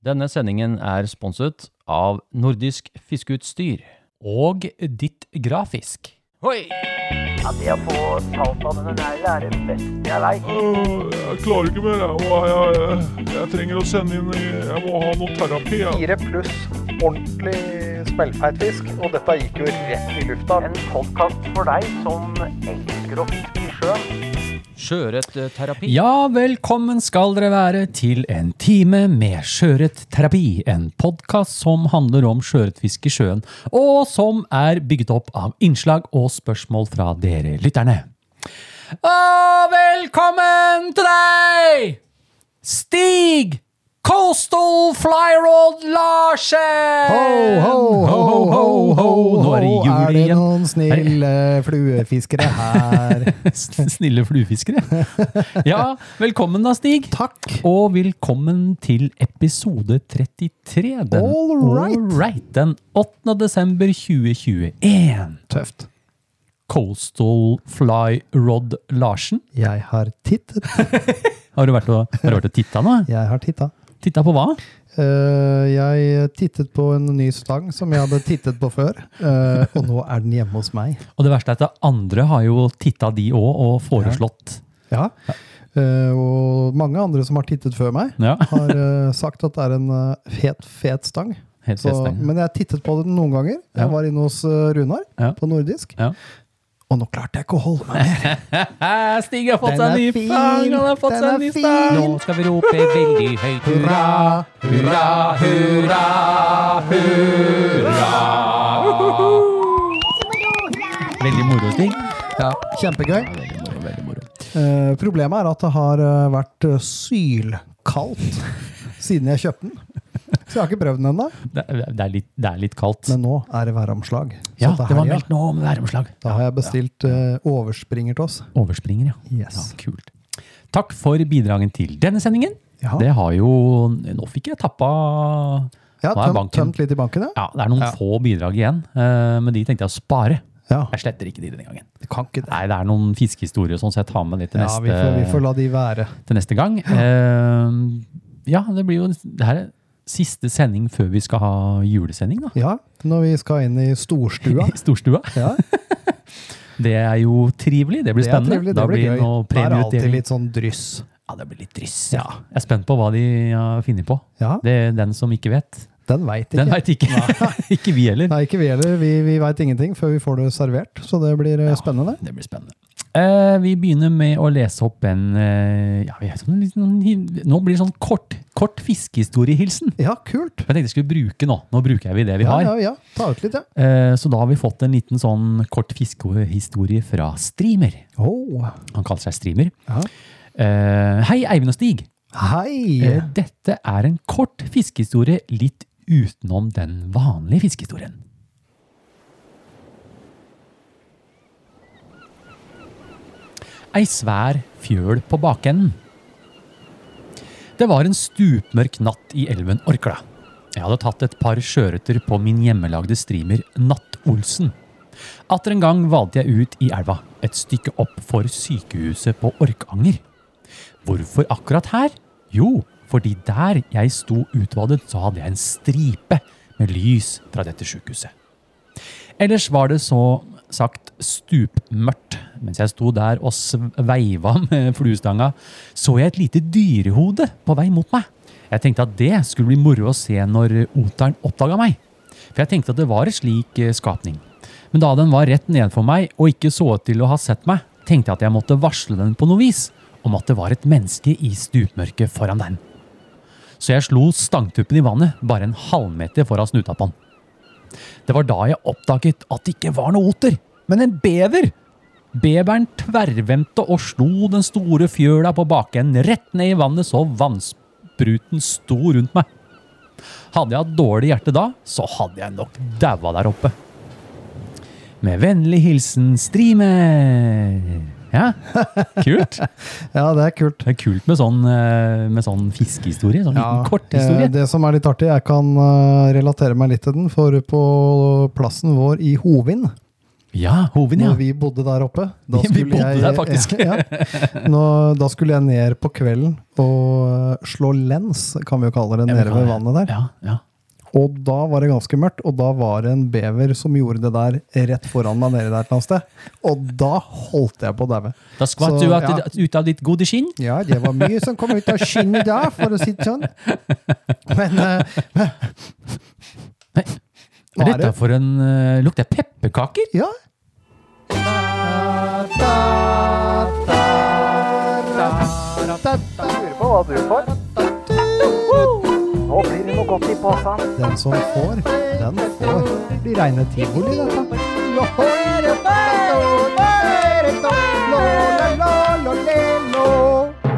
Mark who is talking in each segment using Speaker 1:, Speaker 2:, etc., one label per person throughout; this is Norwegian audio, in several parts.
Speaker 1: Denne sendingen er sponset av Nordisk Fiskeutstyr.
Speaker 2: Og ditt grafisk.
Speaker 1: Hoi!
Speaker 3: Det å få talt av denne neglen er det beste jeg veit.
Speaker 4: Øh, Jeg klarer ikke mer. Jeg, Åh, jeg, jeg, jeg trenger å sende inn Jeg må ha noe terapi. Jeg.
Speaker 5: fire pluss ordentlig smellfeit fisk, og dette gikk jo rett i lufta.
Speaker 3: En podkast for deg som elsker å fiske i sjøen.
Speaker 1: eh, Sjøørretterapi.
Speaker 2: Ja, velkommen skal dere være til en time med Sjøørretterapi. En podkast som handler om sjøørretfiske i sjøen, og som er bygget opp av innslag og spørsmål fra dere lytterne. Og velkommen til deg, Stig Coastal Flyrod Larsen!
Speaker 6: Ho, ho, ho, ho, ho, ho.
Speaker 2: Nå er det jul igjen.
Speaker 6: Er det noen snille fluefiskere her?
Speaker 2: Snille fluefiskere. Ja, velkommen da, Stig.
Speaker 6: Takk.
Speaker 2: Og velkommen til episode 33. Den,
Speaker 6: All right.
Speaker 2: all right, den 8. desember 2021.
Speaker 6: Tøft.
Speaker 2: Coastal Fly Rod Larsen.
Speaker 6: Jeg har tittet.
Speaker 2: Har du vært og, har du vært og titta nå?
Speaker 6: Jeg har titta.
Speaker 2: Titta på hva?
Speaker 6: Eh, jeg tittet på en ny slang som jeg hadde tittet på før, eh, og nå er den hjemme hos meg.
Speaker 2: Og det verste er at det andre har jo titta de òg, og foreslått.
Speaker 6: Ja. Eh, og mange andre som har tittet før meg,
Speaker 2: Ja.
Speaker 6: har eh, sagt at det er en eh, fet, fet stang.
Speaker 2: Helt
Speaker 6: Så,
Speaker 2: festlig.
Speaker 6: men jeg har tittet på den noen ganger.
Speaker 2: Ja.
Speaker 6: Jeg var inne hos eh, Runar
Speaker 2: Ja.
Speaker 6: på nordisk,
Speaker 2: Ja.
Speaker 6: og nå klarte jeg ikke å holde meg mer.
Speaker 2: Eh, Stig har fått seg
Speaker 6: Den er
Speaker 2: en ny
Speaker 6: fin.
Speaker 2: fang! Han har fått
Speaker 6: Den
Speaker 2: seg en
Speaker 6: er
Speaker 2: ny stang!
Speaker 6: fin.
Speaker 2: Nå skal vi rope veldig høyt hurra! Hurra, hurra, hurra! Veldig moro, Stig.
Speaker 6: Ja, kjempegøy. Eh, problemet er at det har eh, vært eh, sylkaldt siden jeg kjøpte den. Så jeg har ikke prøvd den ennå.
Speaker 2: Det, det, er litt, det er litt kaldt.
Speaker 6: Men nå er det væromslag. Så
Speaker 2: Ja,
Speaker 6: til
Speaker 2: det var
Speaker 6: helga,
Speaker 2: meldt nå om væromslag.
Speaker 6: Da har jeg bestilt eh, overspringer til oss.
Speaker 2: Overspringer, ja. ja.
Speaker 6: Yes.
Speaker 2: Kult. Takk for bidragen til denne sendingen.
Speaker 6: Ja.
Speaker 2: Det har jo Nå fikk jeg tappa nå er
Speaker 6: Ja, tømt,
Speaker 2: banken-
Speaker 6: tømt litt i banken, ja.
Speaker 2: Ja, det er noen få bidrag igjen, eh, men de tenkte jeg å spare.
Speaker 6: Ja,
Speaker 2: Jeg sletter ikke de denne gangen.
Speaker 6: det kan ikke det.
Speaker 2: Nei, det er noen fiskehistorier og sånn, så jeg tar med det til,
Speaker 6: Ja,
Speaker 2: neste,
Speaker 6: vi får, vi får la de være.
Speaker 2: til neste gang. Eh, ja, det blir jo det her er siste sending før vi skal ha julesending, da.
Speaker 6: Ja, når vi skal inn i storstua.
Speaker 2: I Storstua.
Speaker 6: Ja,
Speaker 2: Det er jo trivelig. Det blir
Speaker 6: det er
Speaker 2: spennende.
Speaker 6: trivelig,
Speaker 2: da
Speaker 6: det blir
Speaker 2: blir det noe
Speaker 6: gøy. Det er alltid
Speaker 2: premieutdeling.
Speaker 6: litt sånn dryss.
Speaker 2: Ja, det blir litt dryss. Ja. Jeg er spent på hva de har funnet på.
Speaker 6: Ja,
Speaker 2: Det er den som ikke vet.
Speaker 6: den veit
Speaker 2: Den
Speaker 6: ikke.
Speaker 2: veit ikke. ikke vi heller.
Speaker 6: Nei, ikke vi heller. Vi, vi veit ingenting før vi får det servert, så det blir eh, spennende.
Speaker 2: Det blir spennende. Eh, vi begynner med å lese opp en eh, ja, vi har sånn, en liten- Nå blir det sånn kort, kort fiskehistoriehilsen.
Speaker 6: Ja, kult.
Speaker 2: Jeg tenkte jeg skulle bruke nå. Nå bruker vi det vi
Speaker 6: Ja,
Speaker 2: har.
Speaker 6: ja, ja. Ta ut litt, ja.
Speaker 2: Eh, Så da har vi fått en liten sånn kort fiskehistorie fra Streamer.
Speaker 6: Oh.
Speaker 2: Han kaller seg Streamer.
Speaker 6: Ja.
Speaker 2: Eh, Hei, Eivind og Stig.
Speaker 6: Hei!
Speaker 2: Eh, Dette er en kort fiskehistorie litt utenom den vanlige fiskehistorien. Ei svær fjøl på bakenden. Det var en stupmørk natt i elven Orkla. Jeg hadde tatt et par sjøørreter på min hjemmelagde streamer Natt-Olsen. Atter en gang valgte jeg ut i elva, et stykke opp for sykehuset på Orkanger. Hvorfor akkurat her? Jo, fordi der jeg sto utvadet, så hadde jeg en stripe med lys fra dette sykehuset. Ellers var det så sagt stupmørkt. Mens jeg sto der og sveiva med fluestanga, så jeg et lite dyrehode på vei mot meg. Jeg tenkte at det skulle bli moro å se når oteren oppdaga meg. For jeg tenkte at det var en slik eh, skapning. Men da den var rett nedenfor meg og ikke så ut til å ha sett meg, tenkte jeg at jeg måtte varsle den på noe vis om at det var et menneske i stupmørket foran den. Så jeg slo stangtuppen i vannet bare en halvmeter foran snuta på den. Det var da jeg oppdaget at det ikke var noe oter, men en bever. Beveren tverrvendte og slo den store fjøla på bakenden rett ned i vannet så vannspruten sto rundt meg. Hadde jeg hatt dårlig hjerte da, så hadde jeg nok daua der oppe. Med vennlig hilsen Streamer. Ja, kult.
Speaker 6: Ja, det er kult.
Speaker 2: Det er kult med sånn, eh, med sånn fiskehistorie. Sånn liten
Speaker 6: eh,
Speaker 2: korthistorie.
Speaker 6: Det som er litt artig, jeg kan eh, relatere meg litt til den, for på plassen vår i Hovin
Speaker 2: Ja, Hoven, ja.
Speaker 6: Når vi bodde der oppe. Da
Speaker 2: Vi
Speaker 6: skulle
Speaker 2: bodde
Speaker 6: jeg,
Speaker 2: der faktisk.
Speaker 6: Ja, ja. Nå, da skulle jeg ned på kvelden og øh, slå lens, kan vi jo kalle det,
Speaker 2: Ja, vi
Speaker 6: nede
Speaker 2: kan
Speaker 6: ved
Speaker 2: det.
Speaker 6: vannet der.
Speaker 2: Ja, ja.
Speaker 6: Og da var det ganske mørkt, og da var det en bever som gjorde det der rett foran meg nede der et eller annet sted. Og da holdt jeg på å daue.
Speaker 2: Da skvatt
Speaker 6: Så,
Speaker 2: du at,
Speaker 6: ja.
Speaker 2: ut av ditt gode skinn.
Speaker 6: Ja, det var mye som kom ut av skinnet da, for å si det sånn. Men øh, Hva
Speaker 2: Hva
Speaker 6: er
Speaker 2: er dette
Speaker 6: det?
Speaker 2: for en eh, Lukt det er pepperkaker?
Speaker 6: ja.
Speaker 5: Lurer på hva du får.
Speaker 3: Nå blir det noe godt i posen.
Speaker 6: Den som får, den får. Det blir reine tivoli, dette.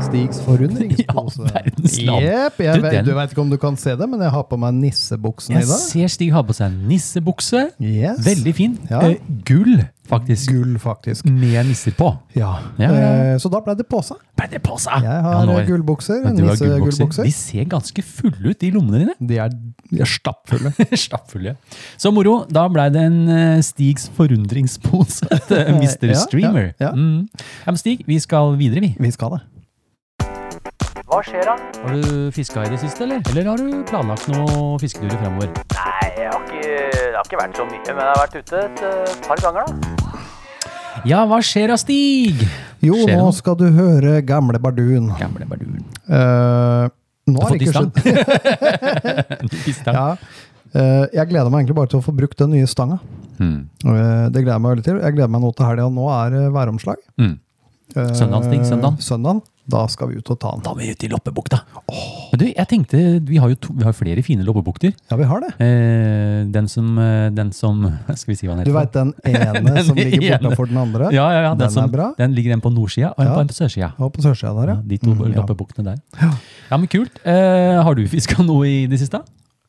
Speaker 6: Stigs forundringspose.
Speaker 2: I all verdens land.
Speaker 6: Jepp.
Speaker 2: Du,
Speaker 6: Jeg vet,
Speaker 2: den-
Speaker 6: du vet ikke om du kan se det, men jeg har på meg nissebuksene
Speaker 2: Jeg
Speaker 6: i dag.
Speaker 2: ser Stig har på seg en nissebukse.
Speaker 6: Yes.
Speaker 2: Veldig fin.
Speaker 6: Ja.
Speaker 2: Eh, gull, faktisk.
Speaker 6: gull, faktisk.
Speaker 2: Med nisser på.
Speaker 6: Ja.
Speaker 2: Ja, ja, ja.
Speaker 6: Eh, Så da ble det påse.
Speaker 2: Ble det på seg?
Speaker 6: Jeg
Speaker 2: Ja,
Speaker 6: har
Speaker 2: nå er-
Speaker 6: gullbukser.
Speaker 2: Men du har gullbukser.
Speaker 6: Nissegullbukser.
Speaker 2: De ser ganske fulle ut, de lommene dine.
Speaker 6: De er, de er stappfulle.
Speaker 2: Stappfulle. Så moro. Da blei det en eh, Stigs forundringspose til Mr.
Speaker 6: Ja, ja,
Speaker 2: Streamer.
Speaker 6: ja.
Speaker 2: Mm. ja, men Stig, vi skal videre, vi.
Speaker 6: Vi skal det.
Speaker 3: Hva skjer da?
Speaker 2: Har du fiska i det siste, eller? Eller har du planlagt noen fisketurer fremover?
Speaker 3: Nei, jeg har ikke, det har ikke vært så mye, men jeg har vært ute et eh, par ganger da.
Speaker 2: Ja, hva skjer da, Stig?
Speaker 6: Jo,
Speaker 2: Skjer det
Speaker 6: nå
Speaker 2: noe?
Speaker 6: skal du høre Gamle Bardun.
Speaker 2: Gamle bardun.
Speaker 6: Eh, nå
Speaker 2: Du har
Speaker 6: har
Speaker 2: fått
Speaker 6: det ikke skjedd.
Speaker 2: isstand. Ny stang.
Speaker 6: Ja. Eh, jeg gleder meg egentlig bare til å få brukt den nye stanga.
Speaker 2: Mm.
Speaker 6: Eh, det gleder jeg meg veldig til. Jeg gleder meg nå til helga. Nå er det væromslag.
Speaker 2: Mm.
Speaker 6: Eh,
Speaker 2: Søndagen, Stig, søndagen.
Speaker 6: søndagen. Da skal vi ut og ta den.
Speaker 2: Da må vi ut i Loppebukta. Men du, jeg tenkte, vi har jo to, vi har flere fine loppebukter.
Speaker 6: Ja, vi har det.
Speaker 2: Eh, den som, eh, den som, skal vi si hva den
Speaker 6: Du
Speaker 2: heter?
Speaker 6: veit den ene
Speaker 2: Den
Speaker 6: som ligger
Speaker 2: ene.
Speaker 6: bortafor den andre?
Speaker 2: Ja, ja, ja. Den,
Speaker 6: Den
Speaker 2: som,
Speaker 6: er bra.
Speaker 2: Den ligger en på nordsida og en
Speaker 6: Ja.
Speaker 2: på en på sørsida.
Speaker 6: Og på sørsida der,
Speaker 2: Ja,
Speaker 6: ja.
Speaker 2: de to
Speaker 6: Mm, ja.
Speaker 2: loppebuktene der. Ja. men kult. Eh, har du fiska noe i det siste?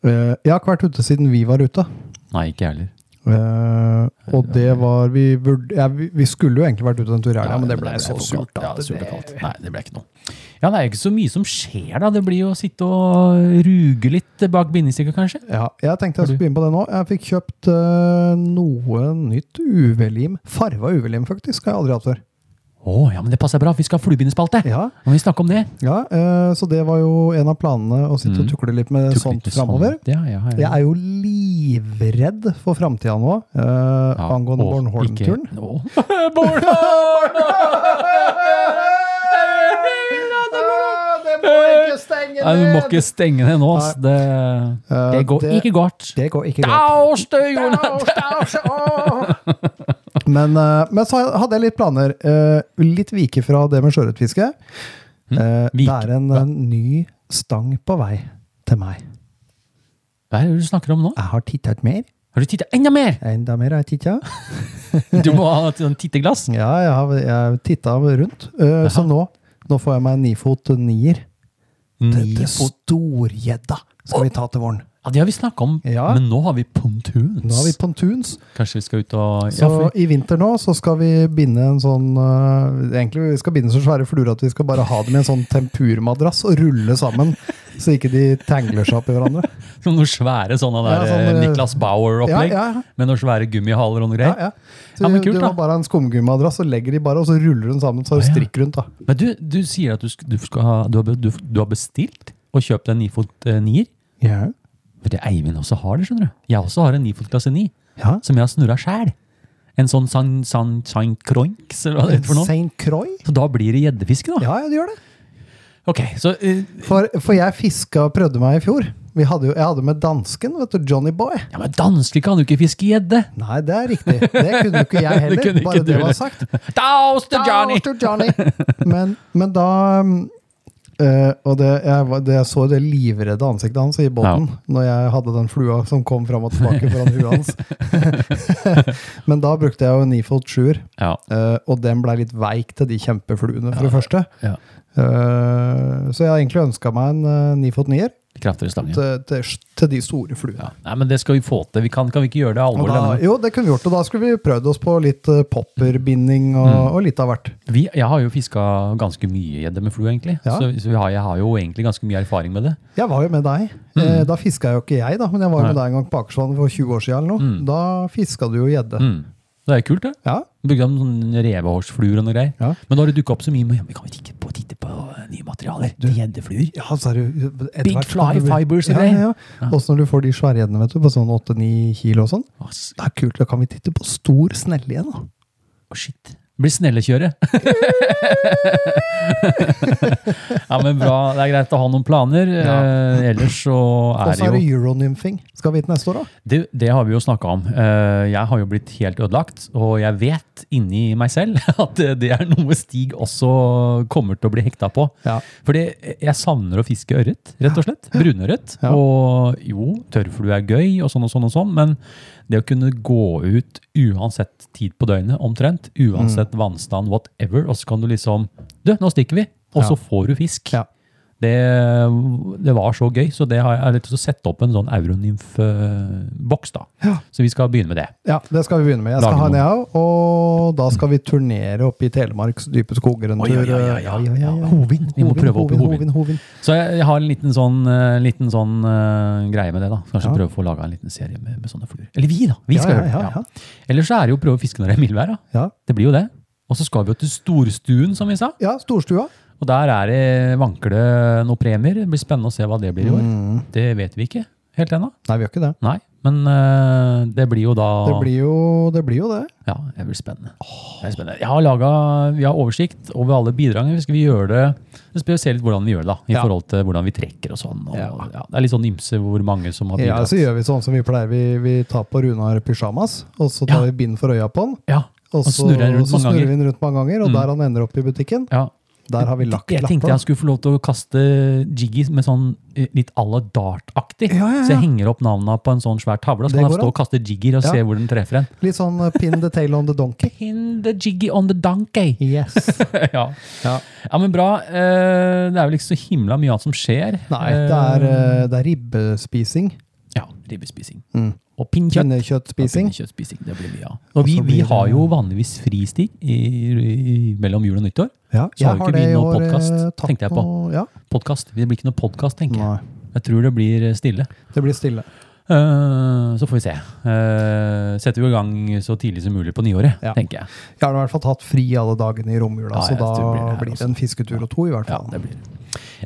Speaker 6: Eh, jeg har ikke vært ute siden vi var ute.
Speaker 2: Nei, ikke jeg heller.
Speaker 6: Eh, og det var vi, vurd ja, vi Vi skulle jo egentlig vært ute en tur i helga, men det ble så surt.
Speaker 2: Ja,
Speaker 6: at
Speaker 2: surt og
Speaker 6: det-
Speaker 2: kaldt. Nei, det ble ikke noe. Ja, det er ikke så mye som skjer, da. Det blir jo å sitte og ruge litt bak bindestikka, kanskje.
Speaker 6: Ja, jeg tenkte jeg skulle begynne på det nå. Jeg fikk kjøpt eh, noe nytt UV-lim. Farva UV-lim, faktisk, har jeg aldri hatt før.
Speaker 2: Å, ja, men det passer bra. Vi skal ha fluebindespalte.
Speaker 6: Ja,
Speaker 2: Må vi snakke om det?
Speaker 6: ja eh, Så det var jo en av planene, å sitte og tukle litt med
Speaker 2: Mm. Tukle
Speaker 6: sånt
Speaker 2: litt sånn.
Speaker 6: framover.
Speaker 2: sånt. Ja, ja, ja.
Speaker 6: Jeg er jo livredd for framtida nå, eh,
Speaker 2: Ja,
Speaker 6: angående
Speaker 2: og
Speaker 6: Bornholm-turen.
Speaker 2: ikke- Å.
Speaker 6: Ah,
Speaker 2: Bornholm! Nei, du må ikke stenge ned nå. ass. Det, det
Speaker 6: Eh,
Speaker 2: går
Speaker 6: det-
Speaker 2: ikke godt.
Speaker 6: Det går ikke godt.
Speaker 2: Au, støyen!
Speaker 6: Men, eh, men så hadde jeg litt planer. eh, litt vike fra det med sjøørretfiske. Eh, det
Speaker 2: vike?
Speaker 6: er en, en ny stang på vei til meg.
Speaker 2: Hva er det du snakker om nå?
Speaker 6: Jeg har tittet mer.
Speaker 2: Har du titta enda mer?
Speaker 6: Enda mer har jeg titta.
Speaker 2: Du må ha et sånt titteglass.
Speaker 6: Ja, jeg har, jeg har titta rundt. Eh, så nå, nå får jeg meg en nifot nier. Til- til
Speaker 2: Nifot.
Speaker 6: storgjedda skal vi ta til våren.
Speaker 2: Ja, det har vi snakka om,
Speaker 6: Ja.
Speaker 2: men nå har vi pontuns.
Speaker 6: Nå har vi pontuns.
Speaker 2: Kanskje vi skal ut og
Speaker 6: Så
Speaker 2: ja, for,
Speaker 6: i vinter nå så skal vi binde en sånn eh, Egentlig vi skal binde så svære fluer at vi skal bare ha dem i en sånn tempurmadrass og rulle sammen, så ikke de tangler seg opp i hverandre.
Speaker 2: Som noen svære sånne der
Speaker 6: Ja, sånn,
Speaker 2: eh,
Speaker 6: eh,
Speaker 2: Niklas Bauer-opplegg.
Speaker 6: ja, ja.
Speaker 2: Med noen svære gummihaler og noe
Speaker 6: Ja,
Speaker 2: greier.
Speaker 6: ja. Så
Speaker 2: Ja, men
Speaker 6: du-
Speaker 2: kult,
Speaker 6: du
Speaker 2: da.
Speaker 6: må bare ha en skumgummimadrass og legger de bare, og så ruller du den sammen, så har du
Speaker 2: Å, ja.
Speaker 6: strikk rundt. da.
Speaker 2: Men du, du sier at du, sk- du, skal ha, du, har, be- du, du har bestilt og kjøpt en nifot eh, nier.
Speaker 6: Ja.
Speaker 2: For det Eivind også har det, skjønner du. Jeg også har en nifot klasse 9,
Speaker 6: Ja.
Speaker 2: som jeg har snurra sjæl. En sånn San, San, San Croix, eller hva det heter for noe.
Speaker 6: St. Croix?
Speaker 2: Så da blir det gjeddefiske, da.
Speaker 6: Ja, ja, det gjør det.
Speaker 2: Ok, så eh,
Speaker 6: For, for jeg fiska og prøvde meg i fjor. Vi hadde jo, jeg hadde med dansken, vet du, Johnny Boy.
Speaker 2: Ja, men danske kan jo ikke fiske gjedde!
Speaker 6: Nei, det er riktig. Det kunne jo ikke jeg heller,
Speaker 2: kunne ikke du
Speaker 6: bare det
Speaker 2: heller.
Speaker 6: var sagt.
Speaker 2: Daus til Johnny!
Speaker 6: Down to Johnny. Men, men da um, eh, og det jeg, var- det jeg så det livredde ansiktet hans i båten når jeg hadde den flua som kom fram og tilbake foran huet hans. Men da brukte jeg jo Nifold 7-er,
Speaker 2: Ja.
Speaker 6: eh, og den blei litt veik til de kjempefluene, for det første.
Speaker 2: ja.
Speaker 6: Eh, så jeg har egentlig ønska meg en uh, Nifold 9-er
Speaker 2: Kraftigere stange.
Speaker 6: til, til, til de store fluene.
Speaker 2: Ja. Nei, men det skal vi få til. Vi kan, kan vi ikke gjøre det
Speaker 6: Og
Speaker 2: alvorlig?
Speaker 6: da,
Speaker 2: denne?
Speaker 6: jo, det kunne vi gjort, og da skulle vi prøvd oss på litt eh, popperbinding og,
Speaker 2: Mm.
Speaker 6: og litt av hvert.
Speaker 2: Vi, jeg har jo fiska ganske mye gjedde med flue, egentlig.
Speaker 6: Ja.
Speaker 2: Så, så vi har, jeg har jo egentlig ganske mye erfaring med det.
Speaker 6: Jeg var jo med deg. Eh, da fiska jo ikke jeg, da, men jeg var jo
Speaker 2: Mm. Nei. Mm.
Speaker 6: med deg en gang på Akersvann for 20 år siden. eller noe. Da fiska du jo gjedde.
Speaker 2: Det er kult, det.
Speaker 6: Ja,
Speaker 2: Bygde de sånne sånn revehårsfluer og noe greier.
Speaker 6: Ja.
Speaker 2: Men da har det dukka opp så mye. Men vi kan jo titte på, titte på eh, nye materialer. til Gjeddefluer.
Speaker 6: ja så er det jo etter
Speaker 2: Big
Speaker 6: hvert-
Speaker 2: fly fibers og
Speaker 6: Ja,
Speaker 2: greier.
Speaker 6: ja, ja. Også når du får de svære gjeddene, vet du, på sånn 8-9 kilo og sånn.
Speaker 2: Å, s-
Speaker 6: Det er kult, da kan vi titte på stor snelle igjen, da.
Speaker 2: å, shit. Blir snellekjøret. ja, men bra. Det er greit å ha noen planer. Eh, ellers så
Speaker 6: Og
Speaker 2: er
Speaker 6: så
Speaker 2: det
Speaker 6: er det
Speaker 2: jo
Speaker 6: euronymfing. Skal vi hit neste år, da?
Speaker 2: Det, det har vi jo snakka om. Eh, jeg har jo blitt helt ødelagt, og jeg vet inni meg selv at det- det er noe Stig også kommer til å bli hekta på.
Speaker 6: Ja.
Speaker 2: Fordi jeg savner å fiske ørret, rett og slett. Brunørret.
Speaker 6: Ja.
Speaker 2: Og jo, tørrflue er gøy, og sånn og sånn, og sånn, men det å kunne gå ut uansett tid på døgnet, omtrent, uansett
Speaker 6: Mm.
Speaker 2: vannstand, whatever, og så kan du liksom Du, nå stikker vi! Og så får du fisk.
Speaker 6: Ja.
Speaker 2: Det, det var så gøy, så det har jeg, jeg har lyst til å sette opp en sånn Euronymf-boks. da.
Speaker 6: Ja.
Speaker 2: Så vi skal begynne med det.
Speaker 6: Ja, det skal vi begynne med. Jeg skal
Speaker 2: Lage
Speaker 6: ha en,
Speaker 2: noen.
Speaker 6: jeg òg. Og da skal vi turnere opp i Telemarks dype skoger en tur. Ja, ja, ja, ja.
Speaker 2: Hovin. Vi må
Speaker 6: Hovin,
Speaker 2: prøve opp i
Speaker 6: Hovin,
Speaker 2: Hovin.
Speaker 6: Hovin, Hovin.
Speaker 2: Så jeg, jeg har en liten sånn, eh, liten sånn eh, greie med det. da. Kanskje prøve å få laga en liten serie med, med sånne fluer. Eller vi, da! Vi
Speaker 6: Ja,
Speaker 2: skal
Speaker 6: ja,
Speaker 2: gjøre det.
Speaker 6: ja, ja.
Speaker 2: Ellers så er det jo å prøve å fiske når det er mildvær. da.
Speaker 6: Ja.
Speaker 2: Det blir jo det. Og så skal vi jo til storstuen, som vi sa.
Speaker 6: Ja, storstua.
Speaker 2: Og der er det vanker det noen premier. Det blir spennende å se hva det blir i år.
Speaker 6: Mm.
Speaker 2: Det vet vi ikke helt ennå.
Speaker 6: Nei, vi gjør ikke det.
Speaker 2: Nei. Men eh, det blir jo da
Speaker 6: Det blir jo det. Blir jo det.
Speaker 2: Ja, det blir spennende. Det er spennende. Jeg har laget, Vi har oversikt over alle bidragene. Skal vi gjøre det Vi skal se litt hvordan vi gjør det, da, i
Speaker 6: Ja.
Speaker 2: forhold til hvordan vi trekker og sånn. Og, ja.
Speaker 6: Ja.
Speaker 2: det er litt sånn ymse hvor mange som har
Speaker 6: Ja,
Speaker 2: bidratt.
Speaker 6: så gjør vi sånn som vi pleier. Vi, vi tar på Runar pysjamas, og så tar
Speaker 2: Ja.
Speaker 6: vi bind for øya på han.
Speaker 2: Ja,
Speaker 6: Og så,
Speaker 2: snurrer den rundt
Speaker 6: så
Speaker 2: mange
Speaker 6: snurrer
Speaker 2: ganger.
Speaker 6: vi den rundt mange ganger, og der han ender opp i butikken,
Speaker 2: ja.
Speaker 6: der har vi lagt
Speaker 2: Jeg tenkte jeg skulle få lov til å kaste jiggy med sånn eh, litt à la dart-aktig.
Speaker 6: Ja, ja, ja.
Speaker 2: Så jeg henger opp navnene på en sånn svær tavle, så
Speaker 6: Det
Speaker 2: kan jeg
Speaker 6: går
Speaker 2: stå
Speaker 6: an.
Speaker 2: og kaste jigger og
Speaker 6: Ja.
Speaker 2: se hvor den treffer en.
Speaker 6: Litt sånn eh, pin the tail on the donkey.
Speaker 2: Pin the jiggy on the donkey!
Speaker 6: Yes.
Speaker 2: ja.
Speaker 6: Ja.
Speaker 2: ja, men bra. Eh, Det er vel ikke så himla mye annet som skjer.
Speaker 6: Nei, det er,
Speaker 2: Um,
Speaker 6: eh, det er ribbespising.
Speaker 2: Ja, ribbespising.
Speaker 6: Mm.
Speaker 2: Og pinnkjøtt.
Speaker 6: Pinnekjøttspising.
Speaker 2: Ja, pinnekjøttspising, Det blir mye av. Og
Speaker 6: Og
Speaker 2: vi,
Speaker 6: så
Speaker 2: vi
Speaker 6: blir det-
Speaker 2: har jo vanligvis fristig i, i, mellom jul og nyttår.
Speaker 6: Ja,
Speaker 2: Så har jo ikke vi noe podcast,
Speaker 6: eh, tatt
Speaker 2: tenkte jeg på.
Speaker 6: noe- ja.
Speaker 2: Podkast. Det blir ikke noe podkast, tenker jeg.
Speaker 6: Nei,
Speaker 2: Jeg tror det blir stille.
Speaker 6: det blir stille.
Speaker 2: Eh, så får vi se. Eh, setter vi i gang så tidlig som mulig på nyåret,
Speaker 6: Ja.
Speaker 2: tenker jeg.
Speaker 6: Jeg har i hvert fall tatt fri alle dagene i romjula,
Speaker 2: Ja,
Speaker 6: så
Speaker 2: jeg
Speaker 6: da
Speaker 2: tror det blir det
Speaker 6: blir
Speaker 2: her
Speaker 6: det,
Speaker 2: også.
Speaker 6: en fisketur og to i hvert
Speaker 2: Ja,
Speaker 6: fall.
Speaker 2: det blir det.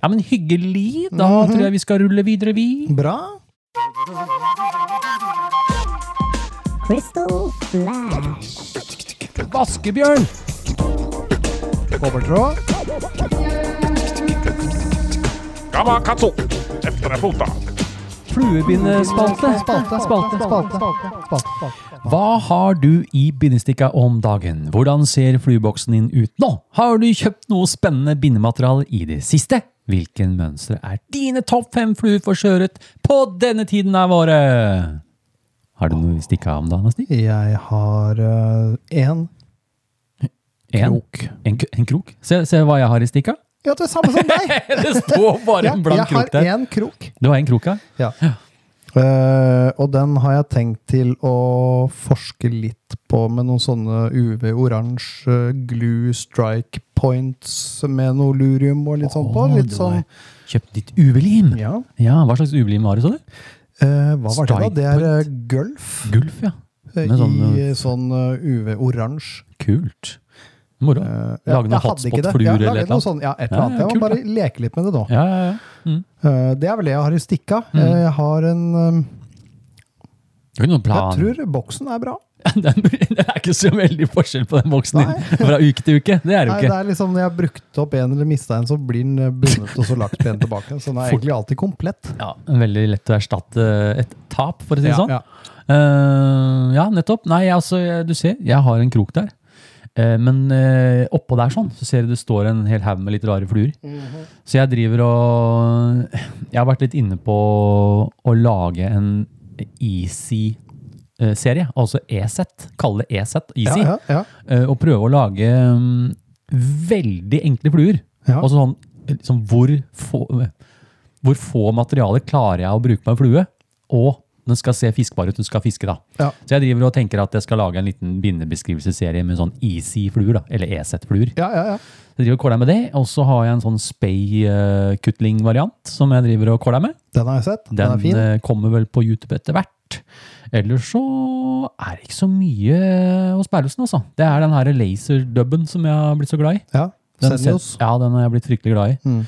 Speaker 2: Ja, men hyggelig. Da
Speaker 6: Mhm.
Speaker 2: tror jeg vi skal rulle videre, vi.
Speaker 6: Bra.
Speaker 7: Crystal Flash.
Speaker 2: Vaskebjørn!
Speaker 6: Kobbertråd.
Speaker 4: Gamakatsu! Efter deg fota.
Speaker 2: Fluebindespalte.
Speaker 6: Spalte, spalte, spalte. spalte, spalte.
Speaker 2: Hva har du i bindestikka om dagen? Hvordan ser flueboksen din ut nå? Har du kjøpt noe spennende bindemateriale i det siste? Hvilken mønstre er dine topp fem fluer for sjøørret på denne tiden av året? Har du noe å stikke av om dagen, Stig?
Speaker 6: Jeg har eh, én
Speaker 2: En krok. En, k- en krok? Se, se hva jeg har i stikka.
Speaker 6: Ja, det er samme som deg!
Speaker 2: Det står bare
Speaker 6: Ja,
Speaker 2: en
Speaker 6: jeg
Speaker 2: blank krok
Speaker 6: har
Speaker 2: der.
Speaker 6: én krok.
Speaker 2: Du har en krok, ja?
Speaker 6: Ja. Eh, og den har jeg tenkt til å forske litt på med noen sånne UV-oransje glue strike points med noe lurium og litt sånn på.
Speaker 2: Å,
Speaker 6: Litt
Speaker 2: du
Speaker 6: sånn
Speaker 2: har Kjøpt ditt uvelim. Ja.
Speaker 6: Ja.
Speaker 2: hva slags uvelim har du, så du?
Speaker 6: Eh, hva var det, da?
Speaker 2: Strike
Speaker 6: Det er eh, gulf
Speaker 2: Gulf, ja.
Speaker 6: eh,
Speaker 2: Med sånn,
Speaker 6: i
Speaker 2: eh,
Speaker 6: eh, sånn eh, UV-oransje.
Speaker 2: Kult. Moro.
Speaker 6: Eh, ja,
Speaker 2: Lage noen
Speaker 6: jeg hadde ikke det.
Speaker 2: hotspot-fluer
Speaker 6: Ja,
Speaker 2: eller
Speaker 6: lage
Speaker 2: et eller
Speaker 6: noe
Speaker 2: annet.
Speaker 6: sånn, ja, et
Speaker 2: Ja,
Speaker 6: eller annet.
Speaker 2: ja,
Speaker 6: Jeg
Speaker 2: kult,
Speaker 6: må bare leke litt med det, da.
Speaker 2: Ja, ja, ja. Mm.
Speaker 6: Eh, det er vel det jeg har i stikka. Eh, jeg har en eh,
Speaker 2: Det er ikke noen plan.
Speaker 6: Jeg tror boksen er bra.
Speaker 2: Den, det er ikke så veldig forskjell på den boksen din fra uke til uke. Det er det jo
Speaker 6: Nei, det
Speaker 2: ikke.
Speaker 6: er liksom Når jeg har brukt opp en eller mista en, så blir den eh, bundet og så lagt igjen tilbake. Så den er
Speaker 2: Fort.
Speaker 6: egentlig alltid komplett.
Speaker 2: Ja, veldig lett å erstatte et tap, for å si det
Speaker 6: Ja,
Speaker 2: sånn.
Speaker 6: ja.
Speaker 2: Eh, ja, nettopp. Nei, altså, jeg- du ser, jeg har en krok der. Eh, men eh, oppå der sånn, så ser du det står en hel haug med litt rare fluer. Så jeg driver og Jeg har vært litt inne på å lage en Easy-serie. Altså E-sett. Kalle det E-sett. Easy.
Speaker 6: Ja, ja,
Speaker 2: eh, og prøve å lage mm, veldig enkle fluer.
Speaker 6: Ja.
Speaker 2: Altså sånn, liksom hvor, få, hvor få materialer klarer jeg å bruke på en flue, og den skal se fiskbar ut, den skal fiske da.
Speaker 6: Ja.
Speaker 2: Så jeg driver og tenker at jeg skal lage en liten bindebeskrivelseserie med sånn easy fluer da, eller E-set-fluer.
Speaker 6: ja, ja, ja.
Speaker 2: Så jeg driver og kåler med det, og så har jeg en sånn spey-kutling-variant som jeg driver og kåler med.
Speaker 6: Den har jeg sett. Den,
Speaker 2: Den
Speaker 6: er fin.
Speaker 2: eh, kommer vel på YouTube etter hvert, vært. Ellers så er det ikke så mye hos Berlesen, altså. Det er den her laserdubben som jeg har blitt så glad i.
Speaker 6: Ja.
Speaker 2: Den
Speaker 6: Senios.
Speaker 2: set- Ja, den har jeg blitt fryktelig glad i.
Speaker 6: Mm.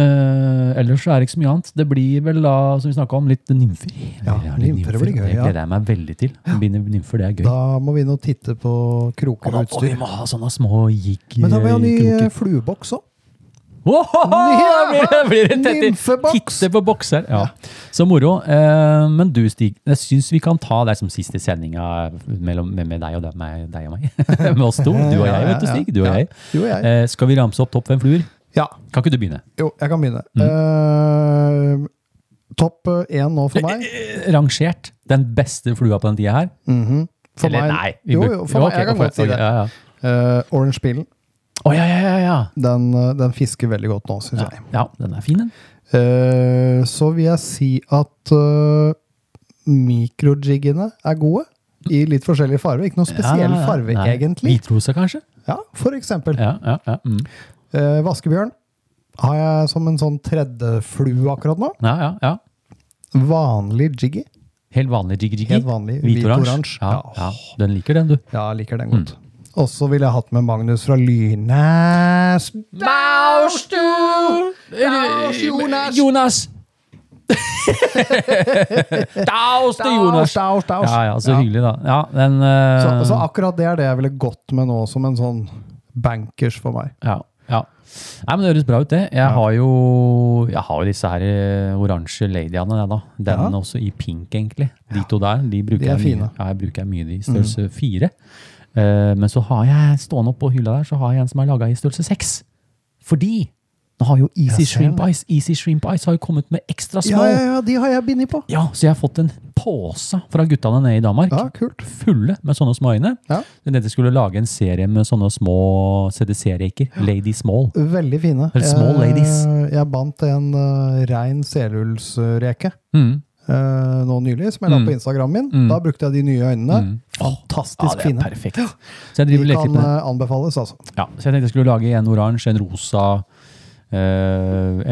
Speaker 2: Eh, ellers så er det ikke så mye annet. Det blir vel da, som vi snakket om, litt nymfer.
Speaker 6: Ja,
Speaker 2: Jeg har litt
Speaker 6: nymfer blir gøy.
Speaker 2: Det
Speaker 6: Ja.
Speaker 2: gleder jeg meg veldig til. Begynne med Nymfer, det er gøy.
Speaker 6: Da må vi inn og titte på
Speaker 2: og,
Speaker 6: kroker
Speaker 2: da,
Speaker 6: og
Speaker 2: og vi
Speaker 6: utstyr.
Speaker 2: må ha sånne små jig...
Speaker 6: Men da må vi ha ny eh,
Speaker 2: kroker.
Speaker 6: flueboks òg.
Speaker 2: Ohoho, da blir det, blir det tett i-
Speaker 6: Nymfeboks.
Speaker 2: Titte på bokser. Ja. Så moro. Eh, men du, Stig, jeg syns vi kan ta det som siste sendinga mellom, med, med deg og deg, med deg og meg. med oss to. Du og jeg, vet du, Stig. Du og
Speaker 6: Ja.
Speaker 2: jeg.
Speaker 6: Du og jeg.
Speaker 2: Eh, skal vi ramse opp topp fem fluer?
Speaker 6: Ja.
Speaker 2: Kan ikke du begynne?
Speaker 6: Jo, jeg kan begynne. Eh, topp én nå for meg.
Speaker 2: Mm. Eh, Rangert den beste flua på den tida her?
Speaker 6: Mhm. For
Speaker 2: Eller
Speaker 6: meg
Speaker 2: nei?
Speaker 6: Jo,
Speaker 2: bruk-
Speaker 6: jo, for meg.
Speaker 2: ok,
Speaker 6: Jeg kan
Speaker 2: for-
Speaker 6: godt si det.
Speaker 2: ok, Ja, ja.
Speaker 6: Eh, Orange Pillen.
Speaker 2: Å, ja, ja, ja, ja.
Speaker 6: Den, eh, den fisker veldig godt nå, syns jeg.
Speaker 2: ja. Den er fin, den.
Speaker 6: Eh, så vil jeg si at eh, mikrojiggene er gode. I litt forskjellige farger. Ikke noe spesiell
Speaker 2: Ja, ja, ja.
Speaker 6: farge,
Speaker 2: Nei.
Speaker 6: egentlig.
Speaker 2: Hvitrosa, kanskje?
Speaker 6: Ja, for eksempel.
Speaker 2: Ja, ja, ja. Mm.
Speaker 6: Eh, vaskebjørn har jeg som en sånn tredje flue akkurat nå.
Speaker 2: ja, ja, ja.
Speaker 6: Vanlig jiggy.
Speaker 2: Helt vanlig jiggy-jiggy.
Speaker 6: Helt vanlig hvitoransje.
Speaker 2: Ja,
Speaker 6: Ja.
Speaker 2: ja. Den liker den, du.
Speaker 6: Ja, jeg liker den godt.
Speaker 2: Mm.
Speaker 6: Og så ville jeg hatt med Magnus fra Lynes.
Speaker 2: Jonas! Jonas! Daus til Jonas!
Speaker 6: Daus, daus, daus.
Speaker 2: Ja, ja, så hyggelig, da. Ja, den eh,
Speaker 6: Så, så akkurat det er det jeg ville gått med nå, som en sånn bankers for meg.
Speaker 2: Ja, ja. Nei, men Det høres bra ut, det. Jeg har jo jeg har jo disse her eh, oransje ladyene. jeg da. Den
Speaker 6: Ja.
Speaker 2: også i pink, egentlig. De to der de bruker
Speaker 6: De er
Speaker 2: jeg
Speaker 6: fine. Mm.
Speaker 2: Mye. Ja, jeg bruker jeg mye de i størrelse fire. Eh, men så har jeg stående oppå hylla der, så har jeg en som er laga i størrelse seks. Fordi nå har jo Easy
Speaker 6: Jeg ser
Speaker 2: Shrimp
Speaker 6: det.
Speaker 2: Ice Easy Shrimp Ice har jo kommet med ekstra
Speaker 6: Ja,
Speaker 2: small.
Speaker 6: ja, ja, de har jeg bindet på.
Speaker 2: Ja, så jeg har fått en pose fra guttene nede i Danmark.
Speaker 6: Ja, kult.
Speaker 2: Fulle med sånne små øyne.
Speaker 6: Ja.
Speaker 2: Dette skulle lage en serie med sånne små CDC-reker. Lady Small.
Speaker 6: Veldig fine.
Speaker 2: Eller small
Speaker 6: Eh,
Speaker 2: ladies.
Speaker 6: Jeg bandt en eh, rein selullsreke
Speaker 2: Mm.
Speaker 6: eh, nå nylig, som jeg la på Instagram min. Da brukte jeg de nye øynene. Fantastisk
Speaker 2: Mm. Ja, det er
Speaker 6: fine.
Speaker 2: perfekt. Så jeg
Speaker 6: De
Speaker 2: driver og leker
Speaker 6: kan
Speaker 2: litt med det.
Speaker 6: eh, anbefales, altså.
Speaker 2: Ja, så jeg tenkte jeg skulle lage en oransje, en rosa, eh,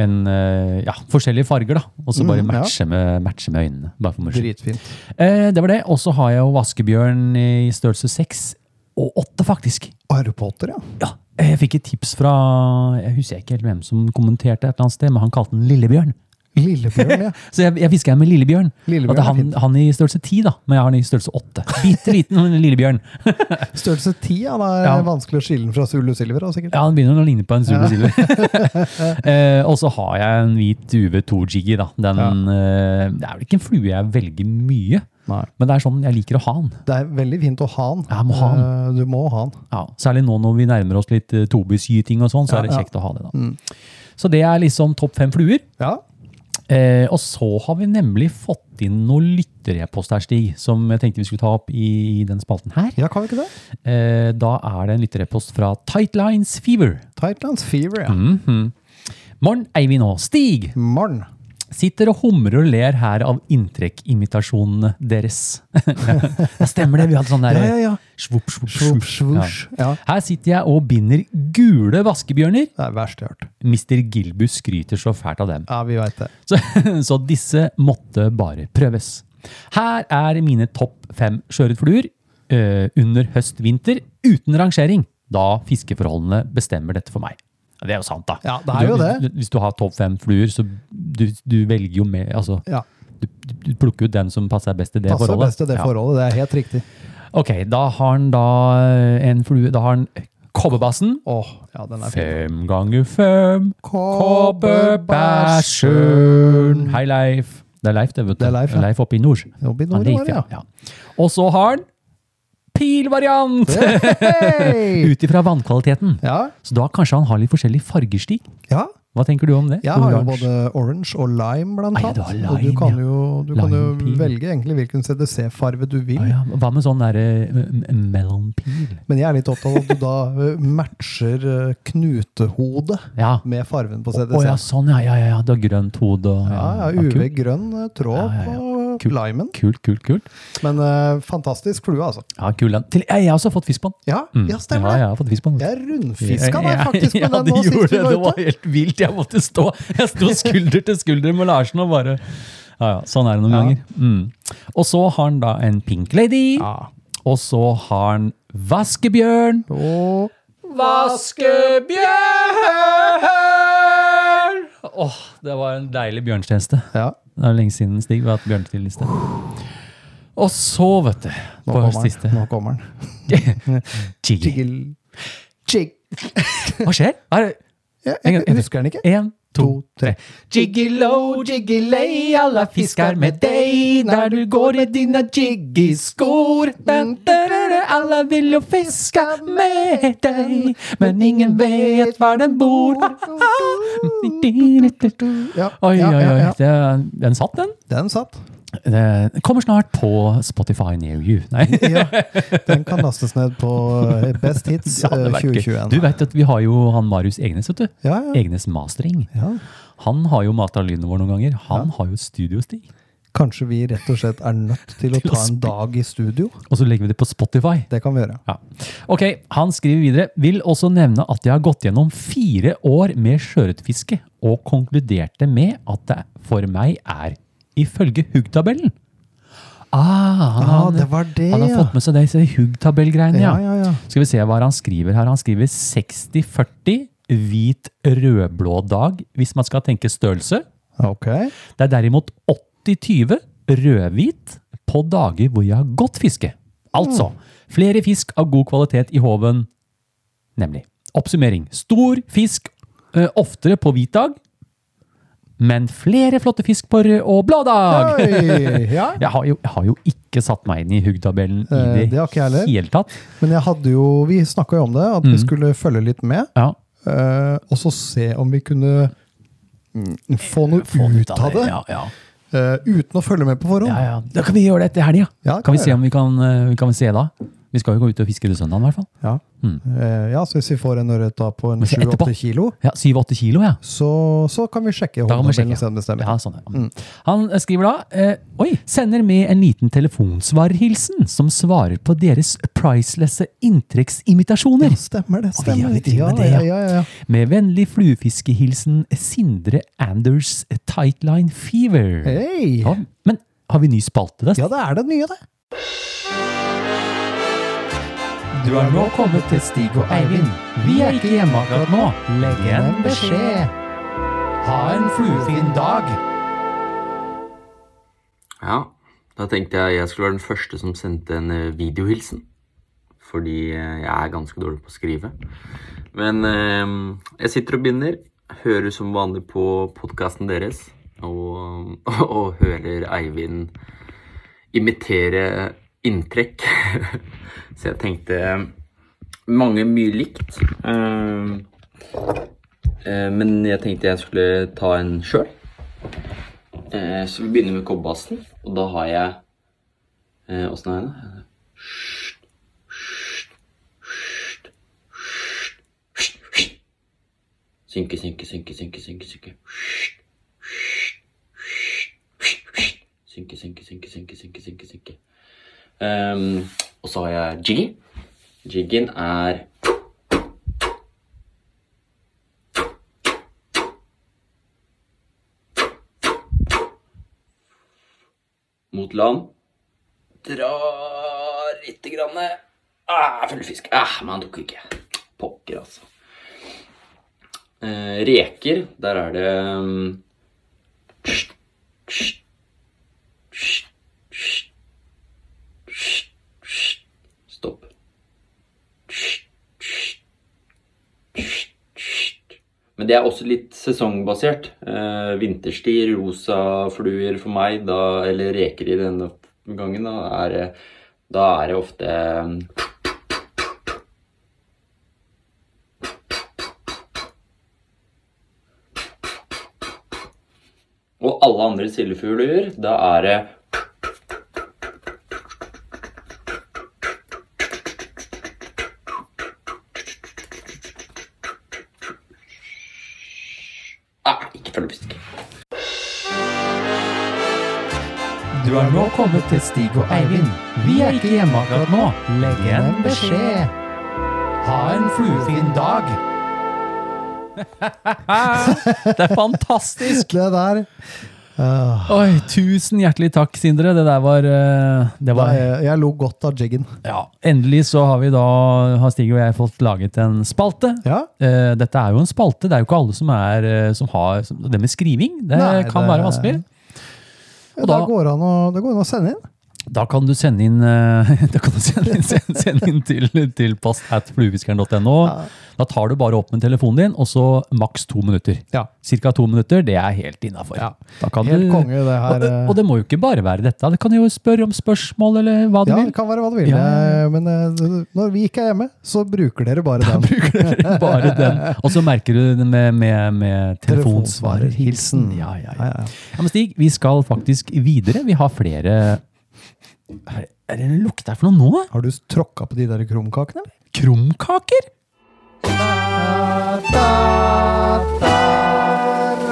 Speaker 2: en eh, Ja, forskjellige farger, da. Og så bare
Speaker 6: Mm, ja.
Speaker 2: matche, med, matche med øynene. Bare for moro skyld.
Speaker 6: Dritfint.
Speaker 2: Eh, det var det. Og så har jeg jo vaskebjørn i størrelse seks og åtte, faktisk.
Speaker 6: Arvepotter, ja.
Speaker 2: Ja, jeg fikk et tips fra Jeg husker ikke helt hvem som kommenterte, et eller annet sted, men han kalte den Lillebjørn.
Speaker 6: Lillebjørn, ja.
Speaker 2: Så jeg, jeg fisker med Lillebjørn.
Speaker 6: Lillebjørn
Speaker 2: Og det er
Speaker 6: er
Speaker 2: han,
Speaker 6: fint.
Speaker 2: han i størrelse ti, da, men jeg har han i størrelse åtte. Bitte liten men Lillebjørn.
Speaker 6: Størrelse 10 ja, da er
Speaker 2: Ja.
Speaker 6: vanskelig å skille den fra Zulu Silver. da, sikkert.
Speaker 2: Ja, Han begynner å ligne på en Zulu Silver. eh, og så har jeg en hvit uv 2 jiggy da. Den, eh, det er vel ikke en flue jeg velger mye,
Speaker 6: Nei.
Speaker 2: men det er sånn jeg liker å ha den.
Speaker 6: Det er veldig fint å ha den.
Speaker 2: Ja, må ha den.
Speaker 6: Eh, Du må ha den.
Speaker 2: Ja, særlig nå når vi nærmer oss litt eh, tobysgyting og sånn, så
Speaker 6: Ja,
Speaker 2: er det
Speaker 6: ja.
Speaker 2: kjekt å ha det. da. Så det er liksom topp fem fluer.
Speaker 6: Ja.
Speaker 2: Eh, og så har vi nemlig fått inn noen lytterepost her, Stig, som jeg tenkte vi skulle ta opp i, i den spalten her.
Speaker 6: ja, kan vi ikke det?
Speaker 2: Eh, da er det en lytterepost fra Tightlines Fever. Mhm.
Speaker 6: Tightlands Fever,
Speaker 2: Mm.
Speaker 6: ja.
Speaker 2: Morn, Eivind og Stig!
Speaker 6: Morn.
Speaker 2: Sitter og humrer og ler her av inntrekkimitasjonene deres. ja, stemmer det? Vi hadde sånn der
Speaker 6: Ja, ja, ja.
Speaker 2: Svopp, svopp,
Speaker 6: Svopp,
Speaker 2: svopp.
Speaker 6: svosj. Ja.
Speaker 2: Her sitter jeg og binder gule vaskebjørner.
Speaker 6: Det er verst jeg har hørt.
Speaker 2: Mr. Gilbus skryter så fælt av dem.
Speaker 6: Ja, vi veit det.
Speaker 2: Så, så disse måtte bare prøves. Her er mine topp fem sjøørretfluer eh, under høst-vinter uten rangering, da fiskeforholdene bestemmer dette for meg. Ja, Det er jo sant, da.
Speaker 6: Ja, det er jo
Speaker 2: du,
Speaker 6: det.
Speaker 2: Hvis, hvis du har topp fem fluer, så du, du velger jo med altså,
Speaker 6: Ja.
Speaker 2: du, du plukker ut den som passer best til det
Speaker 6: Passer
Speaker 2: forholdet.
Speaker 6: best til det
Speaker 2: Ja.
Speaker 6: forholdet, det er helt riktig.
Speaker 2: Ok, da har han da en flue Da har han kobberbassen.
Speaker 6: Åh, ja, den er fin.
Speaker 2: Fem ganger fem Kobberbæsjørn. Hei, Leif. Det er Leif, det, vet du.
Speaker 6: Det er Leif, ja.
Speaker 2: oppe i nord.
Speaker 6: Oppe i
Speaker 2: Han
Speaker 6: nord i
Speaker 2: liker
Speaker 6: år, ja.
Speaker 2: det, Og så har han pilvariant!
Speaker 6: Hei!
Speaker 2: Ut ifra vannkvaliteten.
Speaker 6: Ja,
Speaker 2: Så da kanskje han har litt forskjellig fargestig.
Speaker 6: ja.
Speaker 2: Hva tenker du om det?
Speaker 6: Jeg har jo
Speaker 2: Oransje.
Speaker 6: både orange og lime, blant
Speaker 2: Ah, ja,
Speaker 6: annet.
Speaker 2: du har
Speaker 6: og du
Speaker 2: lime,
Speaker 6: kan
Speaker 2: ja.
Speaker 6: jo, du kan jo
Speaker 2: Lime-pil.
Speaker 6: velge egentlig hvilken CDC-farve du vil.
Speaker 2: Ah, ja. Hva med sånn derre mellompiel?
Speaker 6: Men jeg er litt opptatt av at du da eh, matcher eh, knutehodet
Speaker 2: Ja. Å
Speaker 6: med farven på CDC.
Speaker 2: ja, sånn, ja. ja, ja, ja. Du har grønt hode og
Speaker 6: Ja, ja,
Speaker 2: kult.
Speaker 6: UV grønn eh, tråd
Speaker 2: Ja, ja, ja.
Speaker 6: på
Speaker 2: Kult.
Speaker 6: limen.
Speaker 2: Kult, kult, kult.
Speaker 6: Men eh, fantastisk flue, altså.
Speaker 2: Ja, kul den. Til, jeg har også fått fisk på den.
Speaker 6: Ja,
Speaker 2: Mm.
Speaker 6: ja stemmer
Speaker 2: Ja,
Speaker 6: det.
Speaker 2: jeg har fått fisk på den.
Speaker 6: Jeg rundfiska deg
Speaker 2: Ja,
Speaker 6: faktisk med
Speaker 2: ja,
Speaker 6: den nå
Speaker 2: det
Speaker 6: sist
Speaker 2: gjorde
Speaker 6: vi
Speaker 2: det.
Speaker 6: var
Speaker 2: Det var
Speaker 6: ute.
Speaker 2: helt vilt. Jeg måtte stå Jeg sto skulder til skulder med Larsen og bare Ja, ja, sånn er det noen
Speaker 6: Ja.
Speaker 2: ganger. Mm. Og så har han da en pink lady.
Speaker 6: Ja.
Speaker 2: Og så har han vaskebjørn.
Speaker 6: Og
Speaker 2: Vaskebjørn! Åh, det var en deilig bjørnstjeneste.
Speaker 6: ja.
Speaker 2: Det er lenge siden Stig vi har hatt bjørnstjeneste. Og så, vet du,
Speaker 6: Nå
Speaker 2: på
Speaker 6: kommer
Speaker 2: siste
Speaker 6: den. Nå kommer den.
Speaker 2: Jiggy.
Speaker 6: Jiggle. Jig.
Speaker 2: Hva skjer? Er det
Speaker 6: Ja,
Speaker 2: En gang-
Speaker 6: jeg Eh, husker den ikke.
Speaker 2: en, to,
Speaker 6: To, tre.
Speaker 2: Jiggilo, jiggilei, alle fisker med deg der du går i dine jiggiskor. Alle vil jo fiske med deg, men ingen vet hvor den bor. Oi,
Speaker 6: Ja,
Speaker 2: oi,
Speaker 6: ja, ja,
Speaker 2: oi.
Speaker 6: ja.
Speaker 2: Det, den satt, den.
Speaker 6: Den satt.
Speaker 2: Det kommer snart på Spotify near you. Nei.
Speaker 6: Ja, den kan lastes ned på eh, Best Hits
Speaker 2: Ja, det
Speaker 6: eh,
Speaker 2: var ikke-
Speaker 6: 2021.
Speaker 2: Du vet at vi har jo han Marius Egnes, vet du.
Speaker 6: Ja, ja.
Speaker 2: Egnes mastering.
Speaker 6: ja.
Speaker 2: Han har jo mata lyden vår noen ganger. Han har jo studiostil.
Speaker 6: Kanskje vi rett og slett er nødt til å
Speaker 2: Til å
Speaker 6: ta en
Speaker 2: spille.
Speaker 6: dag i studio?
Speaker 2: Og så legger vi det på Spotify.
Speaker 6: Det kan vi gjøre.
Speaker 2: Ja. Ok, Han skriver videre vil også nevne at jeg har gått gjennom fire år med sjøørretfiske og konkluderte med at det for meg er ifølge huggtabellen. Ah, han,
Speaker 6: Ah, det var det,
Speaker 2: han har
Speaker 6: ja.
Speaker 2: fått med seg disse huggtabellgreiene,
Speaker 6: Ja, ja, ja.
Speaker 2: Skal vi se hva han skriver her. Han skriver 60-40 hvit rødblå dag, hvis man skal tenke størrelse.
Speaker 6: Ok.
Speaker 2: Det er derimot 80-20 rødhvit på dager hvor jeg har godt fiske. Altså, flere fisk av god kvalitet i håven, nemlig. Oppsummering. Stor fisk ø, oftere på hvit dag, men flere flotte fisk på rød og blå dag!
Speaker 6: Oi, ja.
Speaker 2: Jeg har, jo, jeg har jo ikke satt meg inn i huggtabellen i
Speaker 6: Eh,
Speaker 2: det,
Speaker 6: det har ikke jeg heller.
Speaker 2: hele tatt.
Speaker 6: Men jeg hadde jo, vi snakka jo om det, at
Speaker 2: Mm.
Speaker 6: vi skulle følge litt med.
Speaker 2: Ja.
Speaker 6: eh, og så se om vi kunne mm, få noe ut av det.
Speaker 2: Ja, ja.
Speaker 6: eh, uten å følge med på
Speaker 2: Ja,
Speaker 6: forhånd.
Speaker 2: ja. Da kan vi gjøre det etter helga.
Speaker 6: Ja,
Speaker 2: kan
Speaker 6: det kan
Speaker 2: vi
Speaker 6: vi
Speaker 2: se
Speaker 6: gjøre.
Speaker 2: om vi kan, ø, kan vi se da? Vi skal jo gå ut og fiske til søndag, i hvert fall.
Speaker 6: Ja. Eh, ja, så hvis vi får en ørret da på en
Speaker 2: Men så Hmm. etterpå.
Speaker 6: 7-8 kilo,
Speaker 2: Ja, 7-8 kilo, ja.
Speaker 6: så, så kan vi sjekke
Speaker 2: Da kan vi sjekke.
Speaker 6: håndtabellen og se om det stemmer.
Speaker 2: Ja, sånn, ja. Han skriver da eh, Oi! Sender med en liten telefonsvarerhilsen som svarer på deres pricelesse inntrekksimmitasjoner.
Speaker 6: Stemmer det.
Speaker 2: Og vi gjør
Speaker 6: stemmer
Speaker 2: litt ting med det,
Speaker 6: ja,
Speaker 2: ja.
Speaker 6: ja, ja, ja.
Speaker 2: Med vennlig fluefiskehilsen Sindre Anders Tightline Fever.
Speaker 6: Hei!
Speaker 2: Ja, men har vi ny spalte der?
Speaker 6: Ja, det er det nye, det.
Speaker 2: Du har nå kommet til Stig og Eivind. Vi er ikke hjemme akkurat nå. Legg igjen beskjed. Ha en fluefin dag.
Speaker 7: Ja, da tenkte jeg jeg skulle være den første som sendte en eh, videohilsen. Fordi eh, jeg er ganske dårlig på å skrive. Men eh, jeg sitter og begynner. Hører som vanlig på podkasten deres. Og, og hører Eivind imitere inntrekk. Så jeg tenkte eh, mange mye likt. Eh, eh, Men jeg tenkte jeg skulle ta en sjøl. Eh, så vi begynner med kobberbassen, og da har jeg eh, Åssen har jeg det? Synke, synke, synke, synke, synke, synke. Synke, synke, synke, synke, synke, synke. synke. Ehm, og så har jeg jiggy. Jiggen er mot land. Dra lite grann. Ah, full fisk. Ah, men han tok ikke. Pokker, altså. Eh, reker, der er det mm, Stopp. Men det er også litt sesongbasert. Eh, vinterstid, rosa fluer for meg, da, eller reker i denne gangen, da er, det- da er det ofte eh, Og alle andre sildefugler, da er det ah, Ikke følgefisk.
Speaker 2: Du har nå kommet til Stig og Eivind. Vi er ikke hjemme akkurat nå. Legg igjen beskjed. Ha en fluefin dag. det er fantastisk!
Speaker 6: Det der Eh,
Speaker 2: Oi, tusen hjertelig takk, Sindre. Det der var, eh, det var
Speaker 6: jeg, jeg lo godt av jiggen.
Speaker 2: ja. Endelig så har vi da, har Stig og jeg fått laget en spalte.
Speaker 6: Ja.
Speaker 2: Eh, Dette er jo en spalte. Det er jo ikke alle som, er, eh, som har som, Det med skriving det
Speaker 6: Nei,
Speaker 2: kan
Speaker 6: det-
Speaker 2: være vanskelig.
Speaker 6: Da,
Speaker 2: da-
Speaker 6: går det an å, det går an å sende inn.
Speaker 2: Da kan du sende inn, eh, da kan du sende inn, send, send inn til, til post at fluefiskeren.no. Da tar du bare opp med telefonen din, og så maks to minutter.
Speaker 6: Ja.
Speaker 2: Cirka to minutter, det er helt innafor.
Speaker 6: Helt konge, det her,
Speaker 2: Og det,
Speaker 6: eh.
Speaker 2: og det må jo ikke bare være dette. Det kan jo spørre om spørsmål, eller hva du
Speaker 6: Ja,
Speaker 2: vil.
Speaker 6: det kan være hva du vil,
Speaker 2: Ja, ja,
Speaker 6: eh, men eh, når vi ikke er hjemme, så bruker dere bare den.
Speaker 2: Bare den. Og så merker du det med, med, med telefonsvarerhilsen.
Speaker 6: Telefonsvarerhilsen.
Speaker 2: Ja, ja,
Speaker 6: Ja,
Speaker 2: ja.
Speaker 6: ja.
Speaker 2: ja, men Stig, vi skal faktisk videre. Vi har flere Er er det en lukt her for noe nå?
Speaker 6: Har du tråkka på de der krumkakene? eller?
Speaker 2: Krumkaker?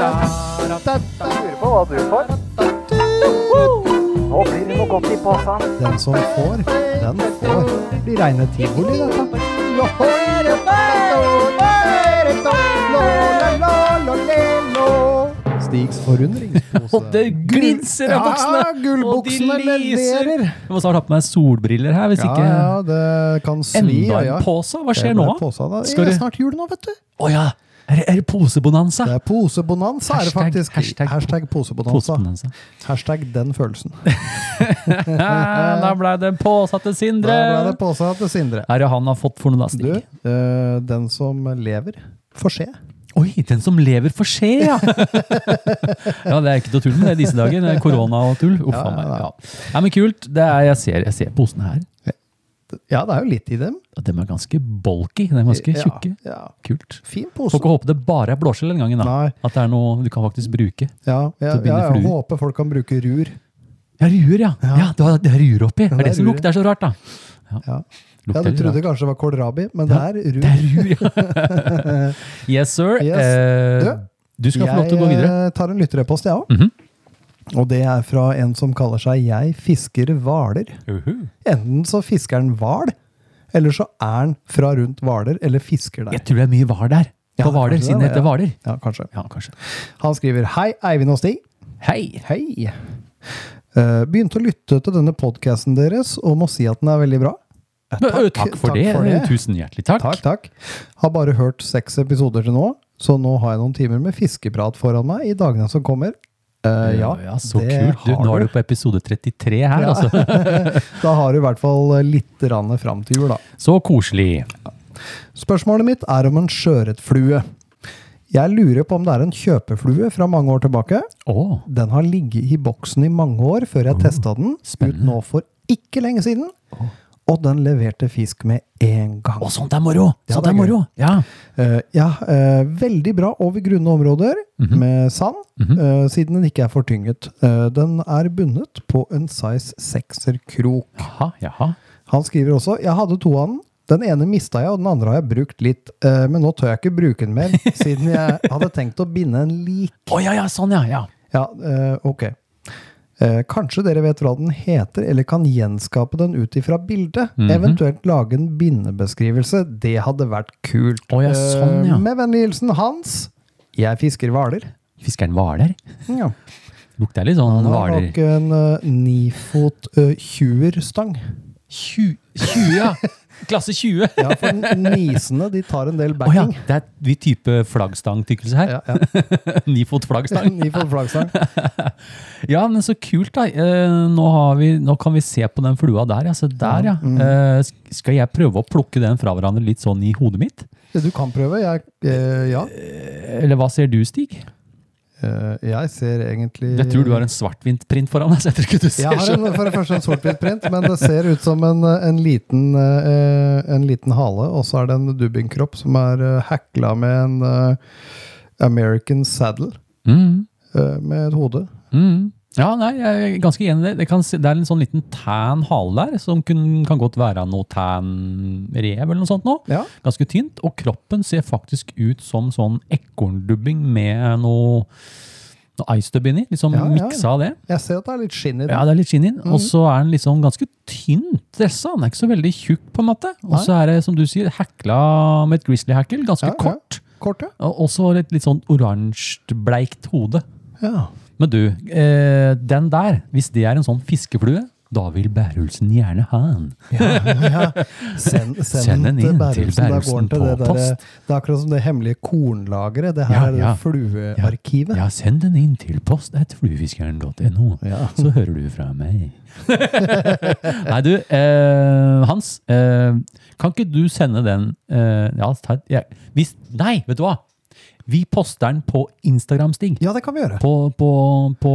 Speaker 5: Jeg lurer på hva du får.
Speaker 3: Nå blir det noe godt i posen.
Speaker 6: Den som får, den får. Det blir reine tivoli, dette. Stigs forundringspose.
Speaker 2: Og det glinser av buksene!
Speaker 6: Ja, gullbuksene
Speaker 2: Og de lyser.
Speaker 6: leverer.
Speaker 2: Jeg må snart ha på meg solbriller her, hvis
Speaker 6: Ja,
Speaker 2: ikke
Speaker 6: ja, det kan svi.
Speaker 2: Enda
Speaker 6: ja.
Speaker 2: en pose? Hva skjer
Speaker 6: Det
Speaker 2: nå?
Speaker 6: ble posa, da.
Speaker 2: Skal
Speaker 6: Det
Speaker 2: du-
Speaker 6: er snart jul nå, vet du.
Speaker 2: Å ja! Er det, er det posebonanza?
Speaker 6: Det er posebonanza, er det
Speaker 2: Hashtag-
Speaker 6: faktisk.
Speaker 2: hashtag-
Speaker 6: Hashtag posebonanza.
Speaker 2: Posebonanza.
Speaker 6: Hashtag den følelsen.
Speaker 2: Ja, da ble det påsa til
Speaker 6: Da
Speaker 2: Sindre.
Speaker 6: ble det posa til Sindre.
Speaker 2: Er det han har fått for noe, da, Stig?
Speaker 6: Du, eh, den som lever, får se.
Speaker 2: Oi, den som lever får se, ja! ja, det er ikke til å tulle med det i disse dager. Det er korona og tull. Uff a meg. Ja. Nei, men kult. Det er, jeg, ser, jeg ser posene her.
Speaker 6: Ja, det er jo litt i dem.
Speaker 2: Ja, De er ganske bulky. De er ganske
Speaker 6: Ja,
Speaker 2: tjukke.
Speaker 6: Ja,
Speaker 2: Kult.
Speaker 6: Fin
Speaker 2: Får
Speaker 6: pose.
Speaker 2: ikke håpe det bare er blåskjell den gangen. da.
Speaker 6: Nei.
Speaker 2: At det er noe du kan faktisk bruke.
Speaker 6: Ja,
Speaker 2: til
Speaker 6: ja,
Speaker 2: å binde
Speaker 6: ja, jeg
Speaker 2: fluer.
Speaker 6: håper folk kan bruke rur.
Speaker 2: Ja, ruer, ja. ja. du har- det er ruer oppi. Det
Speaker 6: det
Speaker 2: er
Speaker 6: er
Speaker 2: det som
Speaker 6: ruer.
Speaker 2: lukter så rart, da.
Speaker 6: Ja.
Speaker 2: Lukter
Speaker 6: Ja, du
Speaker 2: litt
Speaker 6: trodde
Speaker 2: rart.
Speaker 6: kanskje det var kålrabi, men det er rur.
Speaker 2: Det er ruer, ja. yes, sir.
Speaker 6: Yes.
Speaker 2: Eh,
Speaker 6: Du,
Speaker 2: du skal få lov til å gå videre. Mhm.
Speaker 6: Jeg eh, tar en lytterepost, jeg òg. Og det er fra en som kaller seg 'Jeg fisker hvaler'. Enten så fisker han hval, eller så er han fra rundt Hvaler, eller fisker der.
Speaker 2: Jeg tror det er mye var der. På
Speaker 6: Ja,
Speaker 2: Hvaler,
Speaker 6: kanskje det,
Speaker 2: siden det heter
Speaker 6: ja.
Speaker 2: Hvaler.
Speaker 6: Ja, kanskje.
Speaker 2: Ja, kanskje.
Speaker 6: Han skriver 'Hei, Eivind og Stig'.
Speaker 2: Hei!
Speaker 6: Hei. Eh, Begynte å lytte til denne podkasten deres, og må si at den er veldig bra.
Speaker 2: Takk, for, det. Tusen hjertelig takk.
Speaker 6: Takk, takk. Har bare hørt seks episoder til nå, så nå har jeg noen timer med fiskeprat foran meg i dagene som kommer. Eh, ja,
Speaker 2: så
Speaker 6: det
Speaker 2: kult. Du,
Speaker 6: har
Speaker 2: nå er
Speaker 6: du.
Speaker 2: du på episode 33 her, altså.
Speaker 6: Da har du i hvert fall litt rann fram til jul, da.
Speaker 2: Så koselig.
Speaker 6: Spørsmålet mitt er om en sjøørretflue. Jeg lurer på om det er en kjøpeflue fra mange år tilbake.
Speaker 2: Å,
Speaker 6: Den har ligget i boksen i mange år før jeg testa den, ut nå for ikke lenge siden. Og den leverte fisk med en gang.
Speaker 2: å, sånt er moro!
Speaker 6: Ja,
Speaker 2: Sånt
Speaker 6: det er
Speaker 2: er moro. Ja.
Speaker 6: Eh, ja, eh, veldig bra over grunne områder med sand, eh, siden den ikke er fortynget. Eh, den er bundet på en size 6-krok.
Speaker 2: Jaha, jaha.
Speaker 6: Han skriver også Jeg hadde to av den. Den ene mista jeg, og den andre har jeg brukt litt. eh, men nå tør jeg ikke bruke den mer, siden jeg hadde tenkt å binde en lik.
Speaker 2: Å ja, ja, sånn, ja. ja.
Speaker 6: Ja, eh, ok. Eh, kanskje dere vet hva den heter, eller kan gjenskape den ut ifra bildet?
Speaker 2: Mhm.
Speaker 6: Eventuelt lage en bindebeskrivelse. Det hadde vært kult.
Speaker 2: Å ja, sånn,
Speaker 6: Eh,
Speaker 2: ja.
Speaker 6: med vennlig hilsen Hans. Jeg fisker hvaler.
Speaker 2: Fiskeren Hvaler.
Speaker 6: Ja.
Speaker 2: Lukter litt sånn
Speaker 6: Han har
Speaker 2: Hvaler.
Speaker 6: nok en eh, nifot eh, tjuerstang.
Speaker 2: 20, 20, ja! Klasse 20!
Speaker 6: Ja, for nisene de tar en del
Speaker 2: Å ja,
Speaker 6: backing.
Speaker 2: det er vi type flaggstangtykkelse her.
Speaker 6: ja, ja.
Speaker 2: Nifot flaggstang.
Speaker 6: Nifot flaggstang.
Speaker 2: Ja, men så kult da. Eh, Nå, har vi, nå kan vi se på den flua der, ja. Se der, ja.
Speaker 6: Mm.
Speaker 2: Eh, sk- Skal jeg prøve å plukke den fra hverandre litt sånn i hodet mitt?
Speaker 6: Du kan prøve. Jeg, eh, ja.
Speaker 2: Eller hva ser du, Stig?
Speaker 6: Eh, jeg ser egentlig
Speaker 2: Jeg tror du har en svartvintprint foran deg, så jeg tror ikke du ser
Speaker 6: Jeg har en, for det første en sort-hvitt print, men det ser ut som en, en, liten, eh, en liten hale, og så er det en dubbingkropp som er eh, hackla med en eh, American saddle
Speaker 2: så mm,
Speaker 6: eh, med et hode.
Speaker 2: mm. Ja, nei, jeg er ganske enig i det. Det, kan, se- det er en sånn liten tan hale der, som kun, kan godt være noe tan rev eller noe sånt nå.
Speaker 6: Ja,
Speaker 2: Ganske tynt, og kroppen ser faktisk ut som sånn ekorndubbing med noe, noe ice dub inni. Liksom
Speaker 6: Ja, Mhm. ja.
Speaker 2: miksa av det.
Speaker 6: jeg ser at det er litt skinn i den.
Speaker 2: Ja, det er litt skinn inn. Og så er den liksom ganske tynt dressa. Den er ikke så veldig tjukk, på en måte. Og så er det, som du sier, hekla med et grizzly-hackel. Ganske
Speaker 6: Ja, ja.
Speaker 2: kort.
Speaker 6: Kort, ja.
Speaker 2: Og og så et litt sånn oransje, bleikt hode.
Speaker 6: ja.
Speaker 2: Men du, eh, den der, hvis det er en sånn fiskeflue, da vil Bærulsen gjerne ha den.
Speaker 6: Ja, send, send,
Speaker 2: Send den
Speaker 6: den
Speaker 2: inn
Speaker 6: til
Speaker 2: til
Speaker 6: Bærumsen. Da går
Speaker 2: Bærumsen
Speaker 6: den til
Speaker 2: på
Speaker 6: det, derre-
Speaker 2: post.
Speaker 6: det er akkurat som det hemmelige kornlageret. Det her
Speaker 2: Ja,
Speaker 6: er det
Speaker 2: ja.
Speaker 6: fluearkivet.
Speaker 2: Ja, send den inn til post at fluefiskeren.no,
Speaker 6: Ja.
Speaker 2: så hører du fra meg. Nei, du, eh, Hans, eh, kan ikke du sende den eh, ja, ta, ja, hvis, Nei, vet du hva? Vi poster den på Instagram, Stig.
Speaker 6: Ja, det kan vi gjøre.
Speaker 2: På, på, på,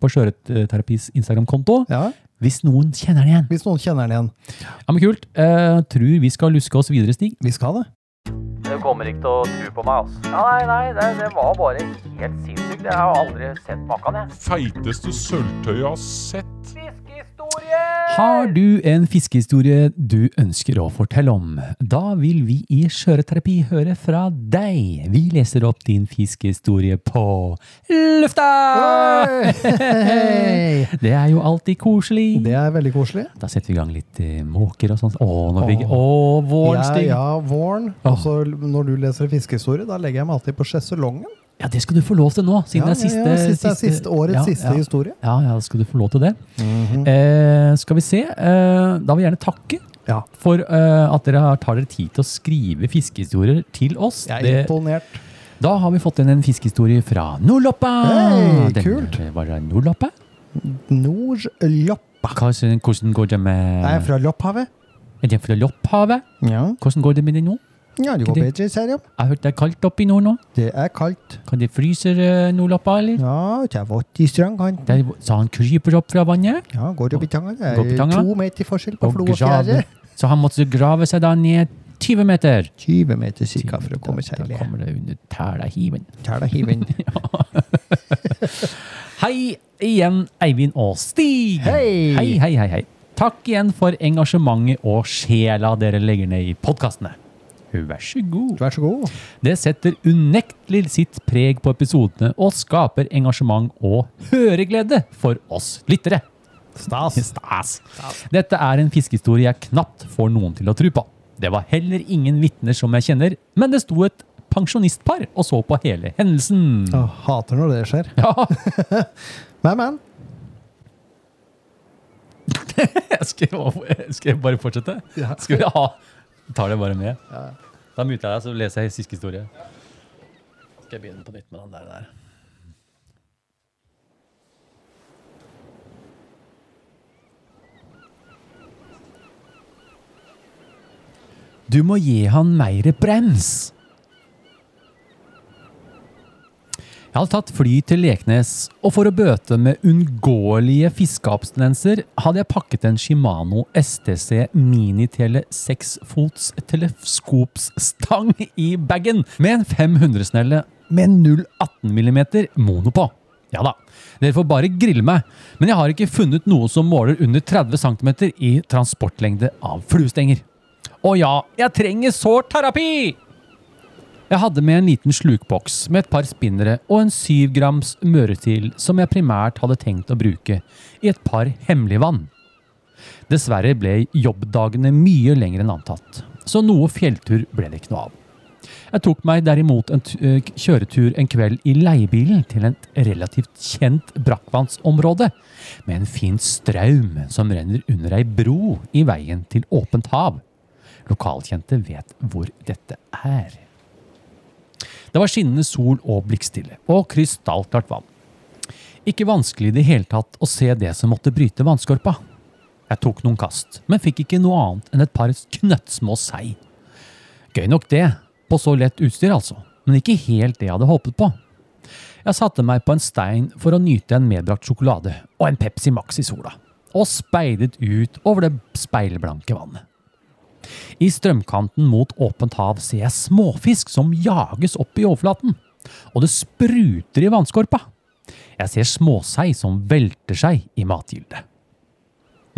Speaker 2: på Sjøørretterapis Instagram-konto.
Speaker 6: Ja,
Speaker 2: Hvis noen kjenner den igjen.
Speaker 6: hvis noen kjenner den igjen.
Speaker 2: Ja, men Kult. Eh, tror vi skal luske oss videre, Stig.
Speaker 6: Vi skal det.
Speaker 3: Du kommer ikke til å tro på meg, altså. Ja, nei, nei, det, det var bare helt sinnssykt. Jeg har aldri sett maken, jeg.
Speaker 4: Feiteste sølvtøyet jeg har sett.
Speaker 3: Fiskehistorie!
Speaker 2: Har du en fiskehistorie du ønsker å fortelle om? Da vil vi i Skjøreterapi høre fra deg. Vi leser opp din fiskehistorie på lufta!
Speaker 6: Hei!
Speaker 2: Det er jo alltid koselig.
Speaker 6: Det er veldig koselig.
Speaker 2: Da setter vi i gang litt eh, måker og sånt. Å, nå fikk Å, våren,
Speaker 6: Ja,
Speaker 2: Stig!
Speaker 6: ja, våren. Og så når du leser fiskehistorie, da legger jeg meg alltid på sjeselongen.
Speaker 2: Ja, det skal du få lov til nå, siden
Speaker 6: Ja,
Speaker 2: det er siste,
Speaker 6: ja, ja, siste er siste- årets siste Mhm. historie.
Speaker 2: Ja, ja, da skal du få lov til det. eh, skal vi se. Eh, da vil jeg gjerne takke
Speaker 6: Ja.
Speaker 2: for eh, at dere har- tar dere tid til å skrive fiskehistorier til oss.
Speaker 6: Jeg er
Speaker 2: Det-
Speaker 6: imponert.
Speaker 2: da har vi fått inn en fiskehistorie fra Nordloppa!
Speaker 6: Hei,
Speaker 2: Den-
Speaker 6: kult.
Speaker 2: Var det Nordloppa?
Speaker 6: Nordlopp.
Speaker 2: Hvordan, hvordan går det med
Speaker 6: Jeg er fra Lopphavet.
Speaker 2: Er det fra Lopphavet?
Speaker 6: Ja.
Speaker 2: Hvordan går det med det nå?
Speaker 6: ja, det går bedre, ser jeg.
Speaker 2: Jeg har hørt det er kaldt oppe i nord nå.
Speaker 6: Det er kaldt.
Speaker 2: Kan det fryse eh, Nordloppa, eller?
Speaker 6: Ja, det er vått i strandkanten.
Speaker 2: Der, så han kryper opp fra vannet?
Speaker 6: Ja, går opp i tanga. Det
Speaker 2: Går opp i
Speaker 6: er
Speaker 2: tanga.
Speaker 6: to meter forskjell på
Speaker 2: og
Speaker 6: flo og
Speaker 2: grave.
Speaker 6: fjære.
Speaker 2: Så han måtte grave seg da ned 20 meter.
Speaker 6: 20 meter cirka for å komme seg
Speaker 2: Da
Speaker 6: ned.
Speaker 2: kommer det under tæla hiven.
Speaker 6: Tæla hiven.
Speaker 2: Hei igjen, Eivind og Stig!
Speaker 6: Hei!
Speaker 2: hei, hei, hei, hei. Takk igjen for engasjementet og sjela dere legger ned i podkastene. Vær så god.
Speaker 6: Vær så god.
Speaker 2: Det setter unektelig sitt preg på episodene og skaper engasjement og høreglede for oss lyttere.
Speaker 6: Stas.
Speaker 2: Stas. Dette er en fiskehistorie jeg knapt får noen til å tro på. Det var heller ingen vitner som jeg kjenner, men det sto et pensjonistpar og så på hele hendelsen.
Speaker 6: Jeg hater når det skjer.
Speaker 2: Ja,
Speaker 6: Men, men.
Speaker 2: jeg skal, jeg skal jeg bare fortsette?
Speaker 6: Ja.
Speaker 2: Skal vi ha? Tar det bare med. Da muter jeg deg, så leser jeg siste historie. Skal jeg begynne på nytt med den der? der. Du må gi han meire brems. Jeg hadde tatt fly til Leknes, og for å bøte med unngåelige fiskeabstinenser hadde jeg pakket en Shimano STC Minitele 6-fots teleskopsstang i bagen med en 500-snelle med 0,18 mm mono på. Ja da, dere får bare grille meg, men jeg har ikke funnet noe som måler under 30 cm i transportlengde av fluestenger. Å ja, jeg trenger sårt terapi! Jeg hadde med en liten slukboks med et par spinnere og en 7 grams møretil som jeg primært hadde tenkt å bruke i et par hemmelige vann. Dessverre ble jobbdagene mye lengre enn antatt, så noe fjelltur ble det ikke noe av. Jeg tok meg derimot en tu- eh, kjøretur en kveld i leiebilen til et relativt kjent brakkvannsområde, med en fin straum som renner under ei bro i veien til åpent hav. Lokalkjente vet hvor dette er. Det var skinnende sol og blikkstille, og krystallklart vann. Ikke vanskelig i det hele tatt å se det som måtte bryte vannskorpa. Jeg tok noen kast, men fikk ikke noe annet enn et par knøttsmå sei. Gøy nok det, på så lett utstyr altså, men ikke helt det jeg hadde håpet på. Jeg satte meg på en stein for å nyte en medbrakt sjokolade og en Pepsi Max i sola, og speidet ut over det speilblanke vannet. I strømkanten mot åpent hav ser jeg småfisk som jages opp i overflaten, og det spruter i vannskorpa. Jeg ser småsei som velter seg i matgildet.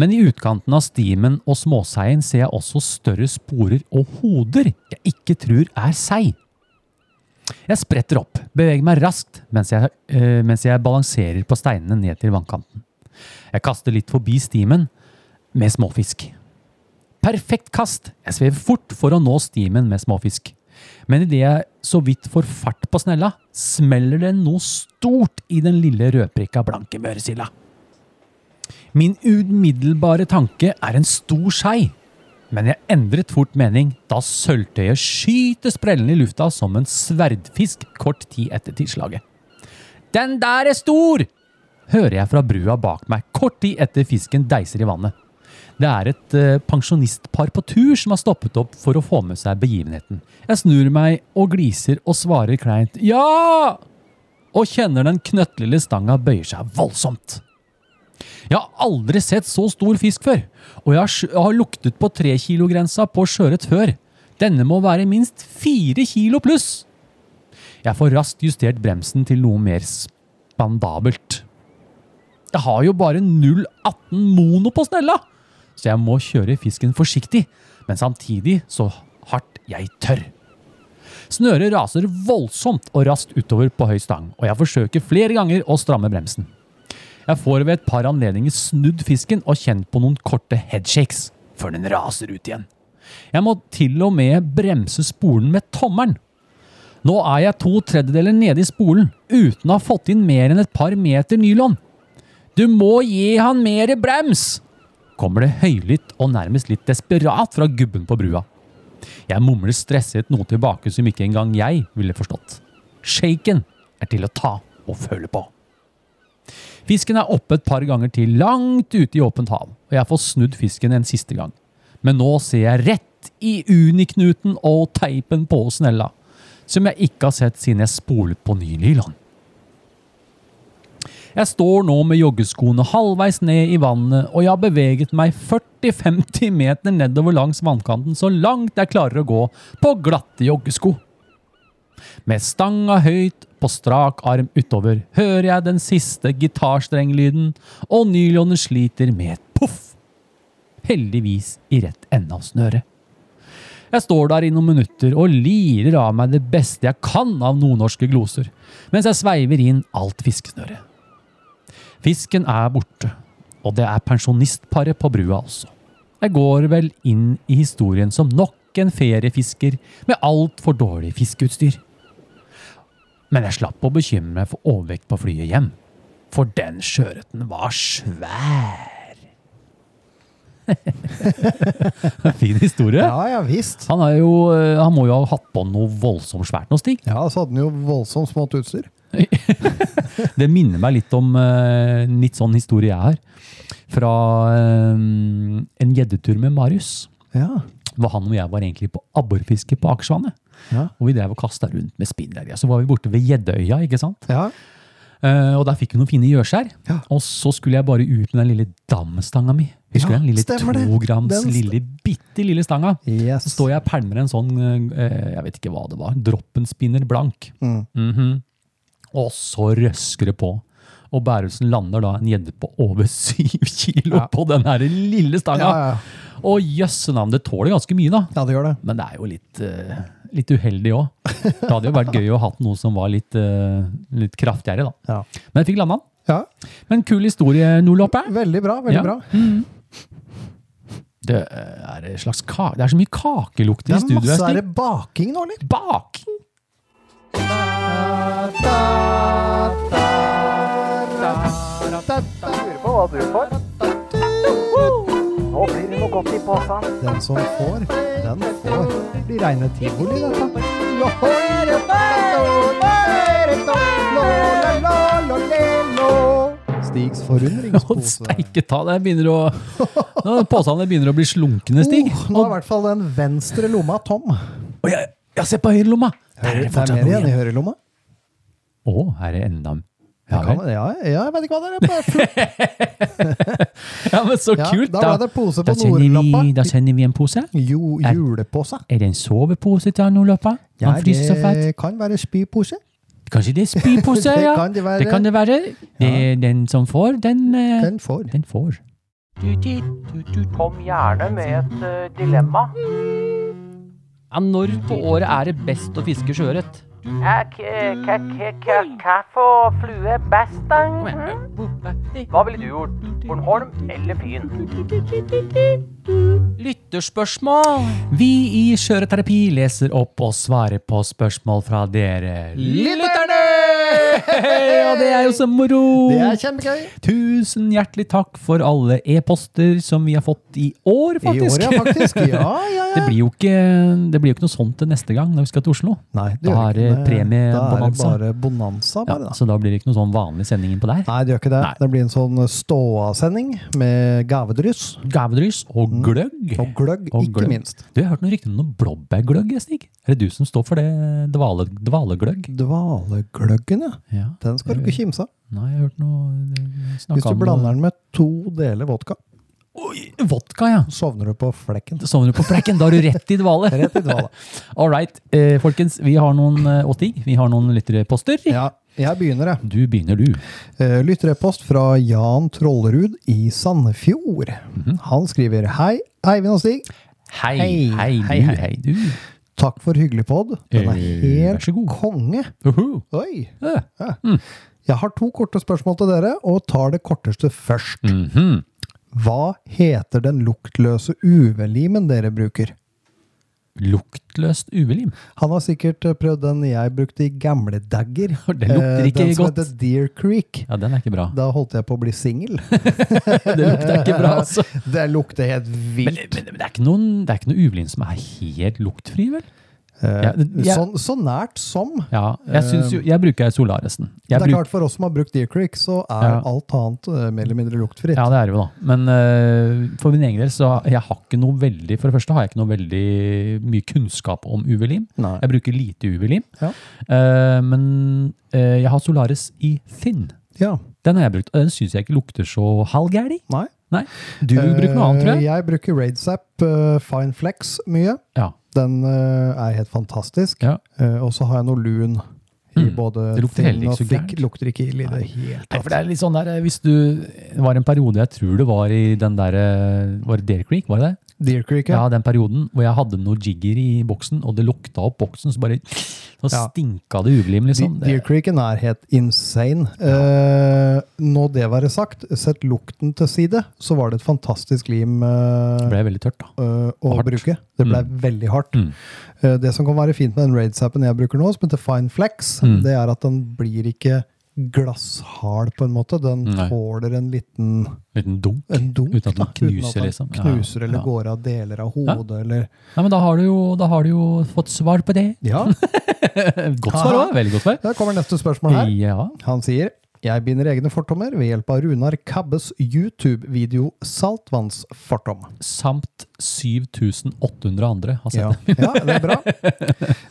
Speaker 2: Men i utkanten av stimen og småseien ser jeg også større sporer og hoder jeg ikke tror er sei. Jeg spretter opp, beveger meg raskt mens jeg, eh, mens jeg balanserer på steinene ned til vannkanten. Jeg kaster litt forbi stimen med småfisk. Perfekt kast! Jeg svever fort for å nå stimen med småfisk. Men idet jeg så vidt får fart på snella, smeller det noe stort i den lille rødprikka blanke børesilla. Min umiddelbare tanke er en stor skei, men jeg endret fort mening da sølvtøyet skyter sprellene i lufta som en sverdfisk kort tid etter tilslaget. Den der er stor! hører jeg fra brua bak meg kort tid etter fisken deiser i vannet. Det er et eh, pensjonistpar på tur som har stoppet opp for å få med seg begivenheten. Jeg snur meg og gliser og svarer kleint ja! Og kjenner den knøttlille stanga bøyer seg voldsomt. Jeg har aldri sett så stor fisk før, og jeg har, sjø- jeg har luktet på trekilogrensa på sjøørret før. Denne må være minst fire kilo pluss! Jeg får raskt justert bremsen til noe mer spandabelt. Jeg har jo bare 0,18 mono på snella, så jeg må kjøre fisken forsiktig, men samtidig så hardt jeg tør. Snøret raser voldsomt og raskt utover på høy stang, og jeg forsøker flere ganger å stramme bremsen. Jeg får ved et par anledninger snudd fisken og kjent på noen korte headshakes, før den raser ut igjen. Jeg må til og med bremse spolen med tommelen, nå er jeg to tredjedeler nede i spolen, uten å ha fått inn mer enn et par meter nylon. Du må gi han mere brems! kommer det høylytt og nærmest litt desperat fra gubben på brua. Jeg mumler stresset noe tilbake som ikke engang jeg ville forstått. Shaken er til å ta og føle på. Fisken er oppe et par ganger til langt ute i åpent hav, og jeg får snudd fisken en siste gang. Men nå ser jeg rett i uniknuten og teipen på snella som jeg ikke har sett siden jeg spolet på ny nylon. Jeg står nå med joggeskoene halvveis ned i vannet, og jeg har beveget meg 40-50 meter nedover langs vannkanten så langt jeg klarer å gå på glatte joggesko. Med stanga høyt på strak arm utover hører jeg den siste gitarstrenglyden, og nylonen sliter med et poff. Heldigvis i rett ende av snøret. Jeg står der i noen minutter og lirer av meg det beste jeg kan av nordnorske gloser, mens jeg sveiver inn alt fiskesnøret. Fisken er borte, og det er pensjonistparet på brua også. Jeg går vel inn i historien som nok en feriefisker med altfor dårlig fiskeutstyr. Men jeg slapp å bekymre meg for overvekt på flyet hjem, for den sjøørreten var svær. fin historie.
Speaker 6: Ja, ja visst.
Speaker 2: Han, er jo, eh, han må jo ha hatt på noe voldsomt svært noe, Stig.
Speaker 6: Ja, så hadde den jo voldsomt smått utstyr.
Speaker 2: Det minner meg litt om eh, en litt sånn historie jeg har. Fra eh, en gjeddetur med Marius.
Speaker 6: Ja.
Speaker 2: Hvor han og jeg var egentlig på abborfiske på Akersvannet.
Speaker 6: Ja.
Speaker 2: Og vi drev og kasta rundt med spinner. Ja, Så var vi borte ved Gjeddeøya, ikke sant?
Speaker 6: Ja.
Speaker 2: Eh, og der fikk vi noen fine gjørskjær.
Speaker 6: Ja.
Speaker 2: Og så skulle jeg bare ut med den lille damstanga mi. Husker
Speaker 6: Ja,
Speaker 2: du den lille
Speaker 6: stemmer det.
Speaker 2: tograms,
Speaker 6: Den st-
Speaker 2: lille, bitte lille stanga?
Speaker 6: Yes.
Speaker 2: Så står jeg og pælmer en sånn, eh, jeg vet ikke hva det var, droppenspinner blank.
Speaker 6: Mm.
Speaker 2: Mhm. Og så røsker det på. Og Bærumsen lander da en gjedde på over syv kilo på den her lille stanga.
Speaker 6: Ja, ja.
Speaker 2: Og jøsse navn, det tåler ganske mye, da.
Speaker 6: Ja, det gjør det.
Speaker 2: Men det er jo litt, eh, litt uheldig òg. Det hadde jo vært gøy å ha hatt noe som var litt, eh, litt kraftigere, da.
Speaker 6: Ja.
Speaker 2: Men jeg fikk landa den.
Speaker 6: ja.
Speaker 2: Men kul historie, Noloppe.
Speaker 6: Veldig bra. veldig
Speaker 2: Ja.
Speaker 6: bra.
Speaker 2: Det er, en slags ka det er så mye kakelukt
Speaker 6: Det
Speaker 2: i
Speaker 6: er
Speaker 2: studioet.
Speaker 6: masse
Speaker 2: Stig.
Speaker 6: er det baking nå, eller?
Speaker 2: Baking!
Speaker 5: Lurer på hva du får. Nå blir det noe godt i posen.
Speaker 6: Den som får, den får. Det blir reine tivoli, dette. Stigs
Speaker 2: Og
Speaker 6: forundringspose.
Speaker 2: steike ta, det begynner å Nå, Påsene begynner å bli slunkne, Stig.
Speaker 6: Oh, nå er i hvert fall den venstre lomma tom.
Speaker 2: Og jeg, jeg ser på høyrelomma! Der er
Speaker 6: Det
Speaker 2: det
Speaker 6: er
Speaker 2: fortsatt noe
Speaker 6: mer igjen i
Speaker 2: igjen.
Speaker 6: høyrelomma.
Speaker 2: Å, her er enda ja,
Speaker 6: Ja,
Speaker 2: vel.
Speaker 6: ja, ja, jeg vet ikke hva det er. Bare fullt.
Speaker 2: ja, men så
Speaker 6: Ja,
Speaker 2: kult!
Speaker 6: da
Speaker 2: Da,
Speaker 6: ble det pose
Speaker 2: da,
Speaker 6: på
Speaker 2: sender vi,
Speaker 6: nordloppa.
Speaker 2: da sender vi en pose.
Speaker 6: Jo, julepose.
Speaker 2: Er det en sovepose til han Olapa?
Speaker 6: Ja,
Speaker 2: Han fryser så fælt.
Speaker 6: det kan være spypose.
Speaker 2: Kanskje det er spypose,
Speaker 6: Det
Speaker 2: ja?
Speaker 6: kan det være.
Speaker 2: Det kan det være. Det er den som får, den, eh,
Speaker 6: Den får.
Speaker 2: den får.
Speaker 3: Kom gjerne med et eh, dilemma.
Speaker 1: Ja, når på året er det best å fiske sjøørret?
Speaker 3: Hva for flue best, da? Hva ville du gjort? Bornholm eller Fyn?
Speaker 1: Lytt lytterspørsmål.
Speaker 2: Vi i Skjøreterapi leser opp og svarer på spørsmål fra dere lytterne! Og det er jo så moro!
Speaker 6: Det er kjempegøy.
Speaker 2: Tusen hjertelig takk for alle e-poster som vi har fått i år,
Speaker 6: I
Speaker 2: faktisk.
Speaker 6: år, ja, faktisk. Ja, ja,
Speaker 2: Det
Speaker 6: ja.
Speaker 2: blir jo ikke, det blir jo ikke noe sånt til neste gang når vi skal til Oslo.
Speaker 6: Nei,
Speaker 2: Da
Speaker 6: gjør
Speaker 2: er
Speaker 6: ikke
Speaker 2: det premiebonanza.
Speaker 6: Da er det bare bonanza,
Speaker 2: Ja,
Speaker 6: bare, da.
Speaker 2: så da blir det ikke noe sånn vanlig sending innpå der.
Speaker 6: Nei, det gjør ikke det.
Speaker 2: Nei.
Speaker 6: Det blir en sånn ståa-sending med gavedryss
Speaker 2: Gavedrys og gløgg.
Speaker 6: Mm. og gløgg,
Speaker 2: Og
Speaker 6: ikke
Speaker 2: gløgg.
Speaker 6: minst.
Speaker 2: Du, jeg har hørt noen rykter om noe blåbærgløgg, Stig. Er det du som står for det? Dvale, dvalegløgg?
Speaker 6: Dvalegløggen, ja.
Speaker 2: Ja.
Speaker 6: Den skal du ikke
Speaker 2: Mm.
Speaker 6: kimse av.
Speaker 2: Nei, jeg har hørt noe
Speaker 6: Hvis du blander den med to deler vodka,
Speaker 2: Oi, vodka, ja.
Speaker 6: sovner du på flekken.
Speaker 2: Da Sovner du på flekken, da er du rett i dvale.
Speaker 6: Rett i dvale.
Speaker 2: All right, eh, folkens. Vi har noen eh, og ting. Vi har noen lytterposter.
Speaker 6: Ja, jeg begynner, jeg.
Speaker 2: Du begynner, du.
Speaker 6: Eh, Lytterepost fra Jan Trollerud i Sandefjord.
Speaker 2: Mhm.
Speaker 6: Han skriver Hei, Eivind og Stig.
Speaker 2: Hei, hei,
Speaker 6: Hei,
Speaker 2: du,
Speaker 6: hei,
Speaker 2: hei,
Speaker 6: hei.
Speaker 2: du.
Speaker 6: Takk for hyggelig pod. Den er
Speaker 2: Eh, vær
Speaker 6: helt
Speaker 2: så god.
Speaker 6: konge.
Speaker 2: Uhu.
Speaker 6: Oi.
Speaker 2: Eh,
Speaker 6: Ja. Jeg har to korte spørsmål til dere, og tar det korteste først.
Speaker 2: mhm.
Speaker 6: Hva heter den luktløse UV-limen dere bruker?
Speaker 2: Luktløst uvelim.
Speaker 6: Han har sikkert eh, prøvd den jeg brukte i gamle dagger.
Speaker 2: Det lukter
Speaker 6: Eh,
Speaker 2: ikke
Speaker 6: Den som
Speaker 2: godt.
Speaker 6: heter Deer Creek.
Speaker 2: Ja, den er ikke bra.
Speaker 6: Da holdt jeg på å bli singel.
Speaker 2: Det lukter ikke bra, altså.
Speaker 6: Det lukter helt
Speaker 2: Men,
Speaker 6: vilt.
Speaker 2: men, men det er ikke noen, det er ikke noe uvelim som er helt luktfri, vel? eh, Ja, jeg,
Speaker 6: Sånn- så nært som.
Speaker 2: ja, jeg, synes jo, jeg bruker Solaresen. Jeg
Speaker 6: eh, det er
Speaker 2: bruker-
Speaker 6: klart For oss som har brukt Deer Creek, så er
Speaker 2: Ja.
Speaker 6: alt annet eh, mer eller mindre luktfritt.
Speaker 2: Ja, det er det jo da. Men øh, for min egen del, så jeg har ikke noe veldig, for det første har jeg ikke noe veldig mye kunnskap om UV-lim.
Speaker 6: Nei.
Speaker 2: Jeg bruker lite UV-lim.
Speaker 6: Ja.
Speaker 2: Eh, men eh, jeg har Solaris i Thin.
Speaker 6: Ja.
Speaker 2: Den har jeg brukt, og den synes jeg ikke lukter så halvgærlig.
Speaker 6: Nei.
Speaker 2: Nei. Du bruker noe annet, tror
Speaker 6: Eh,
Speaker 2: jeg.
Speaker 6: Jeg bruker Raidsap eh, Fine Flex mye.
Speaker 2: Ja.
Speaker 6: Den eh, er helt fantastisk.
Speaker 2: Ja.
Speaker 6: Eh, og så har jeg noe lun i
Speaker 2: Mm.
Speaker 6: både
Speaker 2: Det lukter
Speaker 6: thin
Speaker 2: heller ikke
Speaker 6: og
Speaker 2: så
Speaker 6: thick.
Speaker 2: gærent.
Speaker 6: Lukter ikke ille i det hele
Speaker 2: Nei, for
Speaker 6: tatt.
Speaker 2: det er litt sånn der, eh, hvis du, det var en periode, jeg tror det var i den der, eh, var det Dare Creek, var det det?
Speaker 6: Deer Creek,
Speaker 2: Ja,
Speaker 6: ja.
Speaker 2: den perioden hvor jeg hadde noe jigger i boksen, og det lukta opp boksen, så bare så
Speaker 6: Ja.
Speaker 2: stinka det uvelim, liksom.
Speaker 6: De- Deer
Speaker 2: Det,
Speaker 6: Creeken er helt insane. Eh, nå det være sagt, sett lukten til side, så var det et fantastisk lim eh,
Speaker 2: det ble veldig tørt, da.
Speaker 6: eh, å
Speaker 2: hardt.
Speaker 6: bruke. Det ble veldig hardt.
Speaker 2: Mm.
Speaker 6: Eh, det som kan være fint med den Raids-appen jeg bruker nå, som heter Fine Flex,
Speaker 2: Mm.
Speaker 6: det er at den blir ikke glasshard på en måte. Den
Speaker 2: Nei.
Speaker 6: tåler en liten
Speaker 2: Liten dunk.
Speaker 6: en dunk,
Speaker 2: Uten at den
Speaker 6: da.
Speaker 2: knuser,
Speaker 6: den
Speaker 2: liksom. Ja, ja.
Speaker 6: knuser eller
Speaker 2: Ja.
Speaker 6: går av deler av hodet, eller
Speaker 2: Nei, men da har, du jo, da har du jo fått svar på det.
Speaker 6: Ja,
Speaker 2: Godt svar
Speaker 6: Aha.
Speaker 2: òg. Veldig godt svar.
Speaker 6: der kommer neste spørsmål her.
Speaker 2: Ja.
Speaker 6: Han sier jeg binder egne fortommer ved hjelp av Runar Kabbes YouTube-video 'Saltvannsfortom'.
Speaker 2: Samt 7800 andre har sett
Speaker 6: Ja.
Speaker 2: det.
Speaker 6: ja, det er bra.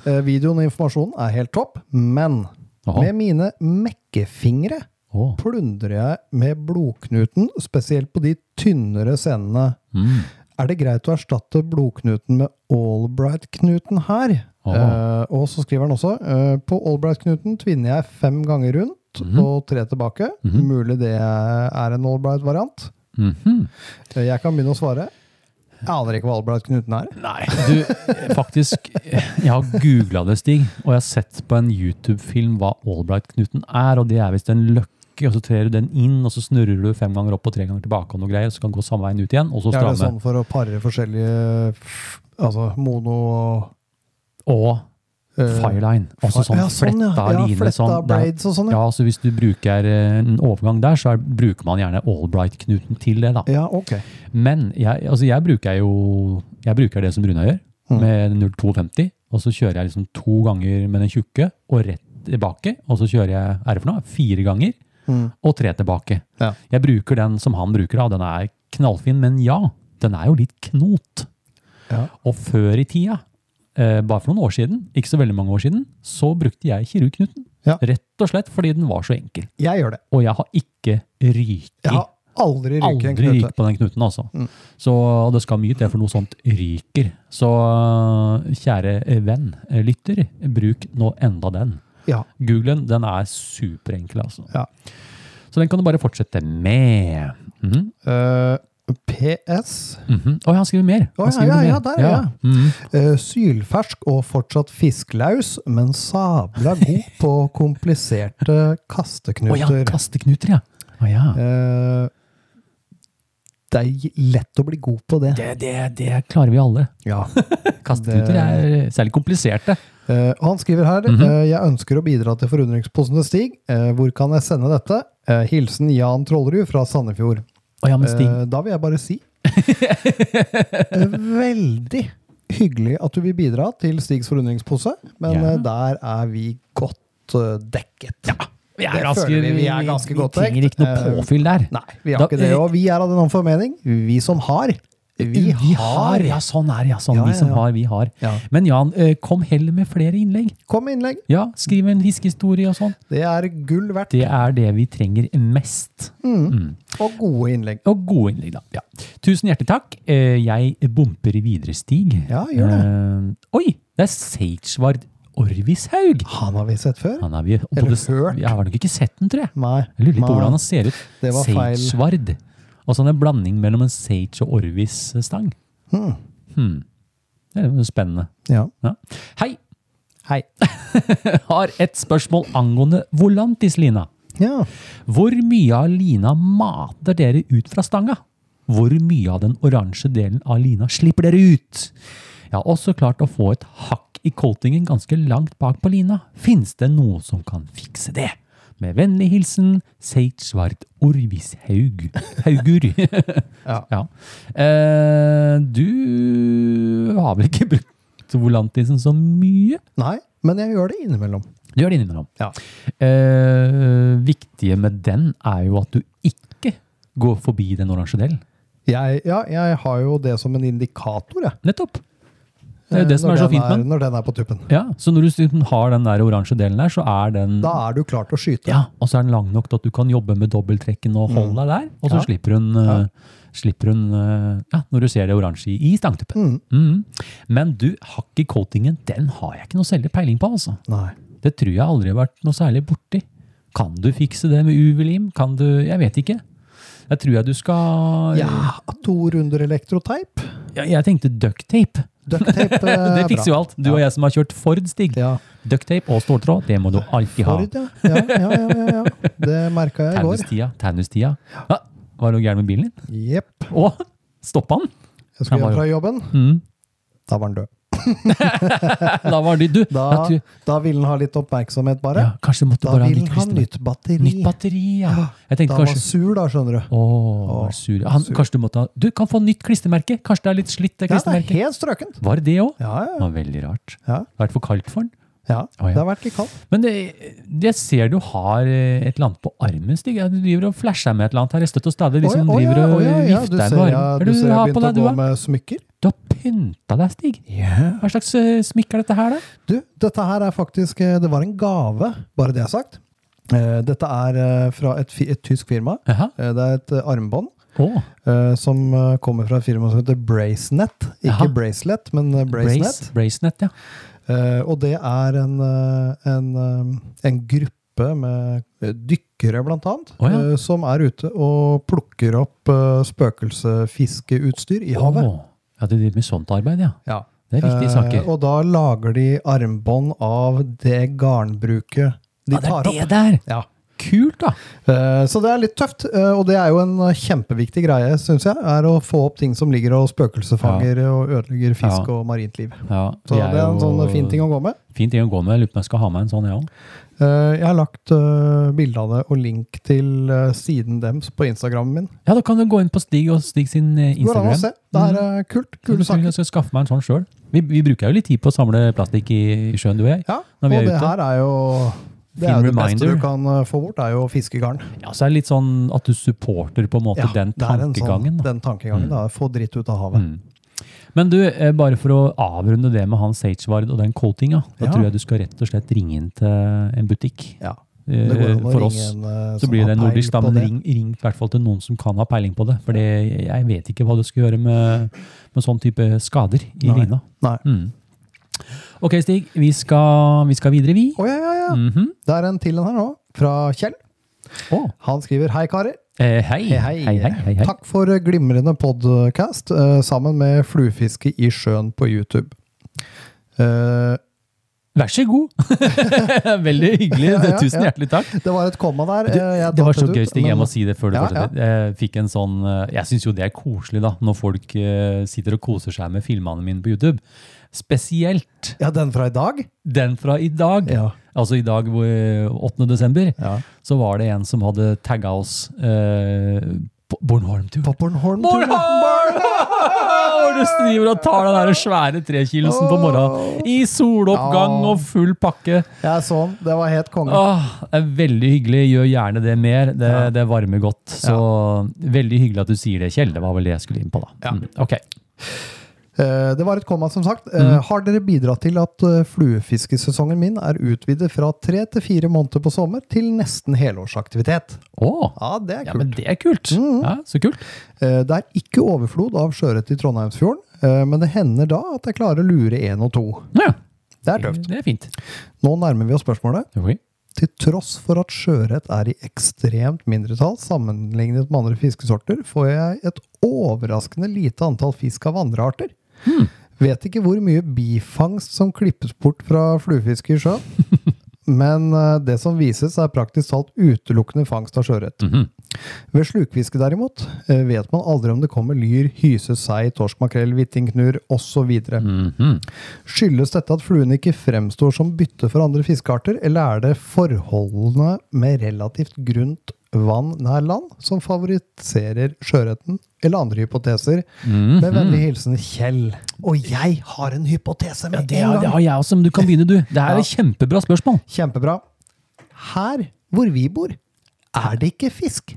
Speaker 6: Eh, videoen og informasjonen er helt topp, men
Speaker 2: Jaha.
Speaker 6: med mine mekkefingre
Speaker 2: Å,
Speaker 6: plundrer jeg med blodknuten, spesielt på de tynnere scenene.
Speaker 2: Mm.
Speaker 6: Er det greit å erstatte blodknuten med Albright-knuten her?
Speaker 2: Åh.
Speaker 6: Eh, og så skriver han også eh, på Albright-knuten tvinner jeg fem ganger rundt
Speaker 2: Mhm.
Speaker 6: og tre tilbake. Mulig det er en Albright-variant.
Speaker 2: mhm.
Speaker 6: Eh, Jeg kan begynne å svare. Jeg aner ikke hva Albright-knuten er.
Speaker 2: Nei, du, faktisk Jeg har googla det, Stig, og jeg har sett på en YouTube-film hva Albright-knuten er, og det er visst en løkke, og så trer du den inn, og så snurrer du fem ganger opp og tre ganger tilbake, og noe greier, så kan den gå samme veien ut igjen, og så
Speaker 6: Er det
Speaker 2: stramme.
Speaker 6: sånn for å pare forskjellige f- Altså mono og
Speaker 2: Og
Speaker 6: eh,
Speaker 2: fireline. Også sånn
Speaker 6: ja, sånn, ja.
Speaker 2: fletta
Speaker 6: Ja,
Speaker 2: line.
Speaker 6: fletta
Speaker 2: sånn. Det er-
Speaker 6: braids og sånn, ja.
Speaker 2: Ja, så hvis du bruker eh, en overgang der, så er, bruker man gjerne Albright-knuten til det. da.
Speaker 6: Ja, ok.
Speaker 2: Men jeg, altså jeg bruker jo jeg bruker det som Runa gjør,
Speaker 6: Mm.
Speaker 2: med 0250. Og så kjører jeg liksom to ganger med den tjukke, og rett tilbake. Og så kjører jeg er det for noe? fire ganger, og tre tilbake.
Speaker 6: Mm. Ja.
Speaker 2: Jeg bruker den som han bruker, da. Den er knallfin, men ja, den er jo litt knot.
Speaker 6: Ja.
Speaker 2: Og før i tida, eh, bare for noen år siden, ikke så veldig mange år siden, så brukte jeg kirurgknuten.
Speaker 6: Ja.
Speaker 2: Rett og slett fordi den var så enkel.
Speaker 6: Jeg gjør det.
Speaker 2: Og jeg har ikke ryket
Speaker 6: Jeg har aldri ryket
Speaker 2: aldri
Speaker 6: en knute. Mm.
Speaker 2: ryk på den knuten, altså. Så det skal mye til for noe sånt ryker. Så kjære venn, eh, lytter, bruk nå enda den.
Speaker 6: Ja,
Speaker 2: Googlen, den er superenkel, altså.
Speaker 6: ja.
Speaker 2: Så den kan du bare fortsette med. Mhm,
Speaker 6: Eh, PS
Speaker 2: mhm. Oi, han skriver mer. Han
Speaker 6: Å, ja,
Speaker 2: skriver
Speaker 6: ja,
Speaker 2: mer.
Speaker 6: ja, der, ja.
Speaker 2: mhm.
Speaker 6: Eh, Sylfersk og fortsatt fisklaus, men sabla god på kompliserte
Speaker 2: Å ja,
Speaker 6: kasteknuter.
Speaker 2: kasteknuter, ja. Å ja.
Speaker 6: Eh, det er lett å bli god på det.
Speaker 2: Det, det, det klarer vi alle.
Speaker 6: Ja.
Speaker 2: Kasteputer er særlig kompliserte.
Speaker 6: Eh, og han skriver her
Speaker 2: Mhm.
Speaker 6: eh, Jeg ønsker å bidra til forundringsposen til Stig. Eh, hvor kan jeg sende dette? Eh, hilsen Jan Trollerud fra Sandefjord.
Speaker 2: Å ja, men Stig,
Speaker 6: Eh, da vil jeg bare si eh, Veldig hyggelig at du vil bidra til Stigs forundringspose, men
Speaker 2: Ja.
Speaker 6: eh, der er vi godt eh, dekket.
Speaker 2: vi
Speaker 6: det
Speaker 2: er
Speaker 6: føler
Speaker 2: ganske,
Speaker 6: vi vi er ganske godt
Speaker 2: Vi trenger ikke noe
Speaker 6: dekt. Eh,
Speaker 2: påfyll der.
Speaker 6: Nei, vi har
Speaker 2: Da-
Speaker 6: ikke det. Og vi er av den omformening, vi som har. Vi har.
Speaker 2: Ja, sånn er det. Ja, sånn.
Speaker 6: Ja,
Speaker 2: Vi
Speaker 6: ja,
Speaker 2: som
Speaker 6: ja.
Speaker 2: har, vi har.
Speaker 6: Ja.
Speaker 2: Men Jan, eh, kom heller med flere innlegg.
Speaker 6: Kom med innlegg.
Speaker 2: Ja, Skriv en fiskehistorie og sånn.
Speaker 6: Det er gull verdt.
Speaker 2: Det er det vi trenger mest.
Speaker 6: Og gode innlegg.
Speaker 2: Og gode innlegg, da. Ja. Tusen hjertelig takk. Eh, Jeg bumper videre, Stig.
Speaker 6: Ja, gjør
Speaker 2: Eh, oi! Det er Seitsvard Orvishaug.
Speaker 6: Han har vi sett før.
Speaker 2: Han er vi
Speaker 6: Eller hørt.
Speaker 2: Jeg har nok ikke sett den, tror jeg.
Speaker 6: Nei.
Speaker 2: Jeg lurer litt på
Speaker 6: Nei.
Speaker 2: hvordan han ser ut.
Speaker 6: Det var feil.
Speaker 2: Seitsvard. Altså en blanding mellom en Sage og Orvis-stang. Hmm. Det er jo spennende.
Speaker 6: Ja.
Speaker 2: Ja. Hei! Hei. har et spørsmål angående Volantis, Lina.
Speaker 6: ja.
Speaker 2: Hvor mye av lina mater dere ut fra stanga? Hvor mye av den oransje delen av lina slipper dere ut? Jeg har også klart å få et hakk i koltingen ganske langt bak på lina. Fins det noe som kan fikse det? Med vennlig hilsen Seit Svart Orvis Haug. Haugur.
Speaker 6: Ja.
Speaker 2: Eh, du har vel ikke brukt volantisen så mye?
Speaker 6: Nei, men jeg gjør det innimellom.
Speaker 2: Du gjør det innimellom.
Speaker 6: Ja.
Speaker 2: Eh, viktige med den er jo at du ikke går forbi den oransje delen.
Speaker 6: Jeg, ja, jeg har jo det som en indikator, jeg.
Speaker 2: Nettopp. Det er jo det
Speaker 6: Eh,
Speaker 2: som
Speaker 6: når
Speaker 2: er så
Speaker 6: den
Speaker 2: fint med den.
Speaker 6: Når den er på tuppen.
Speaker 2: Ja, så når du s- liksom har den der oransje delen der, så er den
Speaker 6: Da er du klar til å skyte.
Speaker 2: ja, og så er den lang nok til at du kan jobbe med dobbelttrekken og holde deg der. Og så
Speaker 6: Mm. Ja.
Speaker 2: slipper hun, eh, slipper hun eh, ja, når du ser det oransje i, i
Speaker 6: Mm.
Speaker 2: stangtuppen. Mhm. Men du, hakk i coatingen, den har jeg ikke noe særlig peiling på, altså.
Speaker 6: Nei.
Speaker 2: Det tror jeg aldri har vært noe særlig borti. Kan du fikse det med UV-lim? Kan du Jeg vet ikke. Jeg tror jeg du skal
Speaker 6: Ja, to runder elektroteip.
Speaker 2: Jeg, jeg tenkte ducktape.
Speaker 6: Ducktape
Speaker 2: Det fikser jo alt. Du og jeg som har kjørt Ford, Stig.
Speaker 6: Ja.
Speaker 2: Ducktape og ståltråd, det må du alltid ha.
Speaker 6: Ford, ja. Ja, ja, ja, ja, ja. Det merka jeg i går.
Speaker 2: Taunus-tida. Taunus-tida. Ja, var det noe gærent med bilen din?
Speaker 6: Jepp.
Speaker 2: Å, stoppa den?
Speaker 6: Jeg
Speaker 2: Den
Speaker 6: skulle
Speaker 2: var
Speaker 6: hjem
Speaker 2: jo-
Speaker 6: fra jobben.
Speaker 2: Mm.
Speaker 6: Da var han død.
Speaker 2: Da var det du.
Speaker 6: Da,
Speaker 2: jeg tror-
Speaker 6: da ville han ha litt oppmerksomhet, bare.
Speaker 2: ja, kanskje måtte
Speaker 6: Da
Speaker 2: bare ha
Speaker 6: vil
Speaker 2: nytt
Speaker 6: han ha
Speaker 2: klistermerke.
Speaker 6: nytt batteri.
Speaker 2: Nytt batteri, ja. Jeg
Speaker 6: da
Speaker 2: tenkte
Speaker 6: var
Speaker 2: kanskje
Speaker 6: han sur, da, skjønner du.
Speaker 2: Åh, var sur. Han, kanskje du måtte ha Du kan få nytt klistremerke! Kanskje det er litt slitt, det
Speaker 6: Ja, det er
Speaker 2: klistremerket?
Speaker 6: helt strøkent.
Speaker 2: Var det det òg?
Speaker 6: Ja, ja,
Speaker 2: Det var veldig rart.
Speaker 6: ja.
Speaker 2: Vært for kaldt for den.
Speaker 6: ja.
Speaker 2: Å, ja.
Speaker 6: Det har vært litt kaldt.
Speaker 2: Men det, jeg ser du har eh, et eller annet på armen, Stig. Ja, Du driver og flasher med et eller annet her. Jeg støtter og stadig liksom
Speaker 6: Å, ja,
Speaker 2: driver og
Speaker 6: å, ja, ja,
Speaker 2: vifter
Speaker 6: du
Speaker 2: med
Speaker 6: ser
Speaker 2: armen.
Speaker 6: jeg-
Speaker 2: Hva er
Speaker 6: Du
Speaker 2: det
Speaker 6: ser
Speaker 2: du
Speaker 6: jeg
Speaker 2: har på
Speaker 6: begynte å
Speaker 2: deg, du,
Speaker 6: gå
Speaker 2: da?
Speaker 6: med smykker.
Speaker 2: Du har pynta deg, Stig. Hva slags eh, smykke er dette her, da?
Speaker 6: Du, dette her er faktisk eh, Det var en gave, bare det er sagt. Eh, Dette er eh, fra et, fi- et tysk firma.
Speaker 2: Jaha.
Speaker 6: Eh, Det er et eh, armbånd
Speaker 2: Å,
Speaker 6: eh, som eh, kommer fra et firma som heter Bracenet. Ikke
Speaker 2: Jaha.
Speaker 6: Bracelet, men eh, Bracenet.
Speaker 2: brace, bracenet, ja.
Speaker 6: Eh, Og det er en, eh, en, eh, en gruppe med eh, dykkere, blant annet,
Speaker 2: Å, ja.
Speaker 6: eh, som er ute og plukker opp eh, spøkelsefiskeutstyr i havet.
Speaker 2: Å, ja, du driver med sånt arbeid, ja.
Speaker 6: Ja.
Speaker 2: Det er viktige
Speaker 6: Eh,
Speaker 2: saker.
Speaker 6: og da lager de armbånd av det garnbruket de
Speaker 2: Ja, det
Speaker 6: tar
Speaker 2: er
Speaker 6: opp.
Speaker 2: det der!
Speaker 6: Ja.
Speaker 2: Kult, da!
Speaker 6: Eh, Så det er litt tøft, eh, og det er jo en eh, kjempeviktig greie, syns jeg. Er å få opp ting som ligger og spøkelsesfanger og ødelegger fisk
Speaker 2: Ja.
Speaker 6: og marint liv.
Speaker 2: Ja,
Speaker 6: Så
Speaker 2: vi
Speaker 6: det er en
Speaker 2: jo-
Speaker 6: sånn fin ting å gå med.
Speaker 2: Fin ting å gå med. Jeg Lurer på om jeg skal ha med en sånn, jeg òg.
Speaker 6: Eh, Jeg har lagt eh, bilde av det og link til eh, siden dems på Instagrammen min.
Speaker 2: Ja, da kan du gå inn på Stig og Stig sin eh,
Speaker 6: Går
Speaker 2: Instagram.
Speaker 6: an
Speaker 2: Mm.
Speaker 6: å se. Det er eh, kult.
Speaker 2: Jeg
Speaker 6: Kule
Speaker 2: tror
Speaker 6: saker.
Speaker 2: jeg skal skaffe meg en sånn sjøl. Vi, vi bruker jo litt tid på å samle plastikk i i sjøen, du og jeg.
Speaker 6: Ja,
Speaker 2: Når
Speaker 6: og
Speaker 2: vi er
Speaker 6: det
Speaker 2: ute.
Speaker 6: her er jo det,
Speaker 2: Fin
Speaker 6: er jo det beste
Speaker 2: reminder.
Speaker 6: du kan eh, få bort, er jo fiskegarn.
Speaker 2: Ja, så er det litt sånn at du supporter på en måte den
Speaker 6: det er
Speaker 2: tankegangen.
Speaker 6: en Sånn,
Speaker 2: da. Mm.
Speaker 6: den tankegangen, da. Få dritt ut av havet.
Speaker 2: Men du, eh, bare for å avrunde det med han Sagevard og den coltinga, da
Speaker 6: Ja.
Speaker 2: tror jeg du skal rett og slett ringe inn til en butikk.
Speaker 6: Ja.
Speaker 2: Eh,
Speaker 6: Det går an å
Speaker 2: for
Speaker 6: ringe
Speaker 2: oss
Speaker 6: en, eh,
Speaker 2: så
Speaker 6: som
Speaker 2: blir
Speaker 6: har
Speaker 2: det
Speaker 6: peil
Speaker 2: nordisk, da,
Speaker 6: på
Speaker 2: men
Speaker 6: det.
Speaker 2: ring, ring i hvert fall til noen som kan ha peiling på det. For det- jeg vet ikke hva du skal gjøre med, med sånn type skader i
Speaker 6: Nei.
Speaker 2: lina.
Speaker 6: Nei.
Speaker 2: Ok, Stig. Vi skal, vi skal videre, vi. Mhm.
Speaker 6: Å ja, ja, ja. Det er en til en her nå, fra Kjell.
Speaker 2: Å,
Speaker 6: Han skriver Hei, karer.
Speaker 2: eh, hei. Hei, hei, hei, hei.
Speaker 6: Takk for eh, glimrende podcast eh, sammen med fluefiske i sjøen på YouTube. Eh,
Speaker 2: Vær så god! Veldig hyggelig.
Speaker 6: Ja, ja,
Speaker 2: Tusen
Speaker 6: ja.
Speaker 2: hjertelig takk.
Speaker 6: Det var et komma der.
Speaker 2: Du,
Speaker 6: eh, jeg
Speaker 2: det var
Speaker 6: datet
Speaker 2: så
Speaker 6: ut,
Speaker 2: gøy, Stig. Jeg
Speaker 6: men-
Speaker 2: må si det før du
Speaker 6: Ja,
Speaker 2: fortsetter. Jeg fikk en sånn, eh, jeg syns jo det er koselig, da, når folk eh, sitter og koser seg med filmene mine på YouTube. Spesielt
Speaker 6: Ja, den fra i dag?
Speaker 2: den fra i dag.
Speaker 6: Ja.
Speaker 2: Altså i dag, hvor- 8. desember,
Speaker 6: Ja.
Speaker 2: så var det en som hadde tagga oss eh, på Bornholm-tur.
Speaker 6: På Bornholm. tror jeg.
Speaker 2: Bornholm! Du driver og tar den der svære trekilosen på morgenen. I soloppgang og full pakke.
Speaker 6: Jeg så den. sånn. Det var helt konge.
Speaker 2: Åh, det er veldig hyggelig. Gjør gjerne det mer. Det, det varmer godt. Så veldig hyggelig at du sier det, Kjell. Det var vel det jeg skulle inn på, da. Mm, ok.
Speaker 6: Eh, Det var et komma, som sagt.
Speaker 2: Mhm.
Speaker 6: Eh, Har dere bidratt til at eh, fluefiskesesongen min er utvidet fra tre til fire måneder på sommer til nesten helårsaktivitet?
Speaker 2: Åh,
Speaker 6: Ja, det er
Speaker 2: ja,
Speaker 6: kult. Mm.
Speaker 2: men det er kult. Ja, så kult.
Speaker 6: Eh, Det er ikke overflod av sjøørret i Trondheimsfjorden, eh, men det hender da at jeg klarer å lure én og to.
Speaker 2: Ja,
Speaker 6: Det er
Speaker 2: det,
Speaker 6: tøft.
Speaker 2: er fint.
Speaker 6: Nå nærmer vi oss spørsmålet.
Speaker 2: Ok.
Speaker 6: Til tross for at sjøørret er i ekstremt mindretall sammenlignet med andre fiskesorter, får jeg et overraskende lite antall fisk av andre arter. Vet ikke hvor mye bifangst som klippes bort fra fluefiske i sjøen, men eh, det som vises, er praktisk talt utelukkende fangst av sjøørret.
Speaker 2: Mhm.
Speaker 6: Ved slukfiske, derimot, eh, vet man aldri om det kommer lyr, hyse, sei, torsk, makrell, hvittingknurr osv.
Speaker 2: Mhm.
Speaker 6: Skyldes dette at fluene ikke fremstår som bytte for andre fiskearter, eller er det forholdene med relativt grunt vann nær land som favoriserer sjøørreten, eller andre hypoteser?
Speaker 2: Mhm.
Speaker 6: Med vennlig hilsen Kjell. Og jeg har en hypotese med
Speaker 2: Det,
Speaker 6: en
Speaker 2: har-
Speaker 6: gang!
Speaker 2: det har jeg også, men du kan begynne, du. Det her er et kjempebra spørsmål.
Speaker 6: Kjempebra. Her hvor vi bor, er det ikke fisk.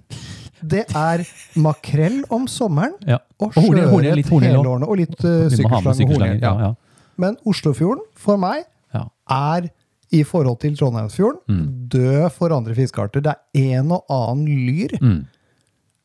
Speaker 6: Det er makrell om sommeren
Speaker 2: Ja.
Speaker 6: og
Speaker 2: Og hornel- hornel, litt
Speaker 6: sjøørret
Speaker 2: hornel også.
Speaker 6: helårene. Og litt uh,
Speaker 2: Vi må ha med
Speaker 6: sykkelslanger.
Speaker 2: sykkelslanger. Ja, ja.
Speaker 6: Men Oslofjorden, for meg,
Speaker 2: Ja.
Speaker 6: er i forhold til Trondheimsfjorden
Speaker 2: Mm.
Speaker 6: død for andre fiskearter. Det er en og annen lyr. Ja,
Speaker 2: Mm.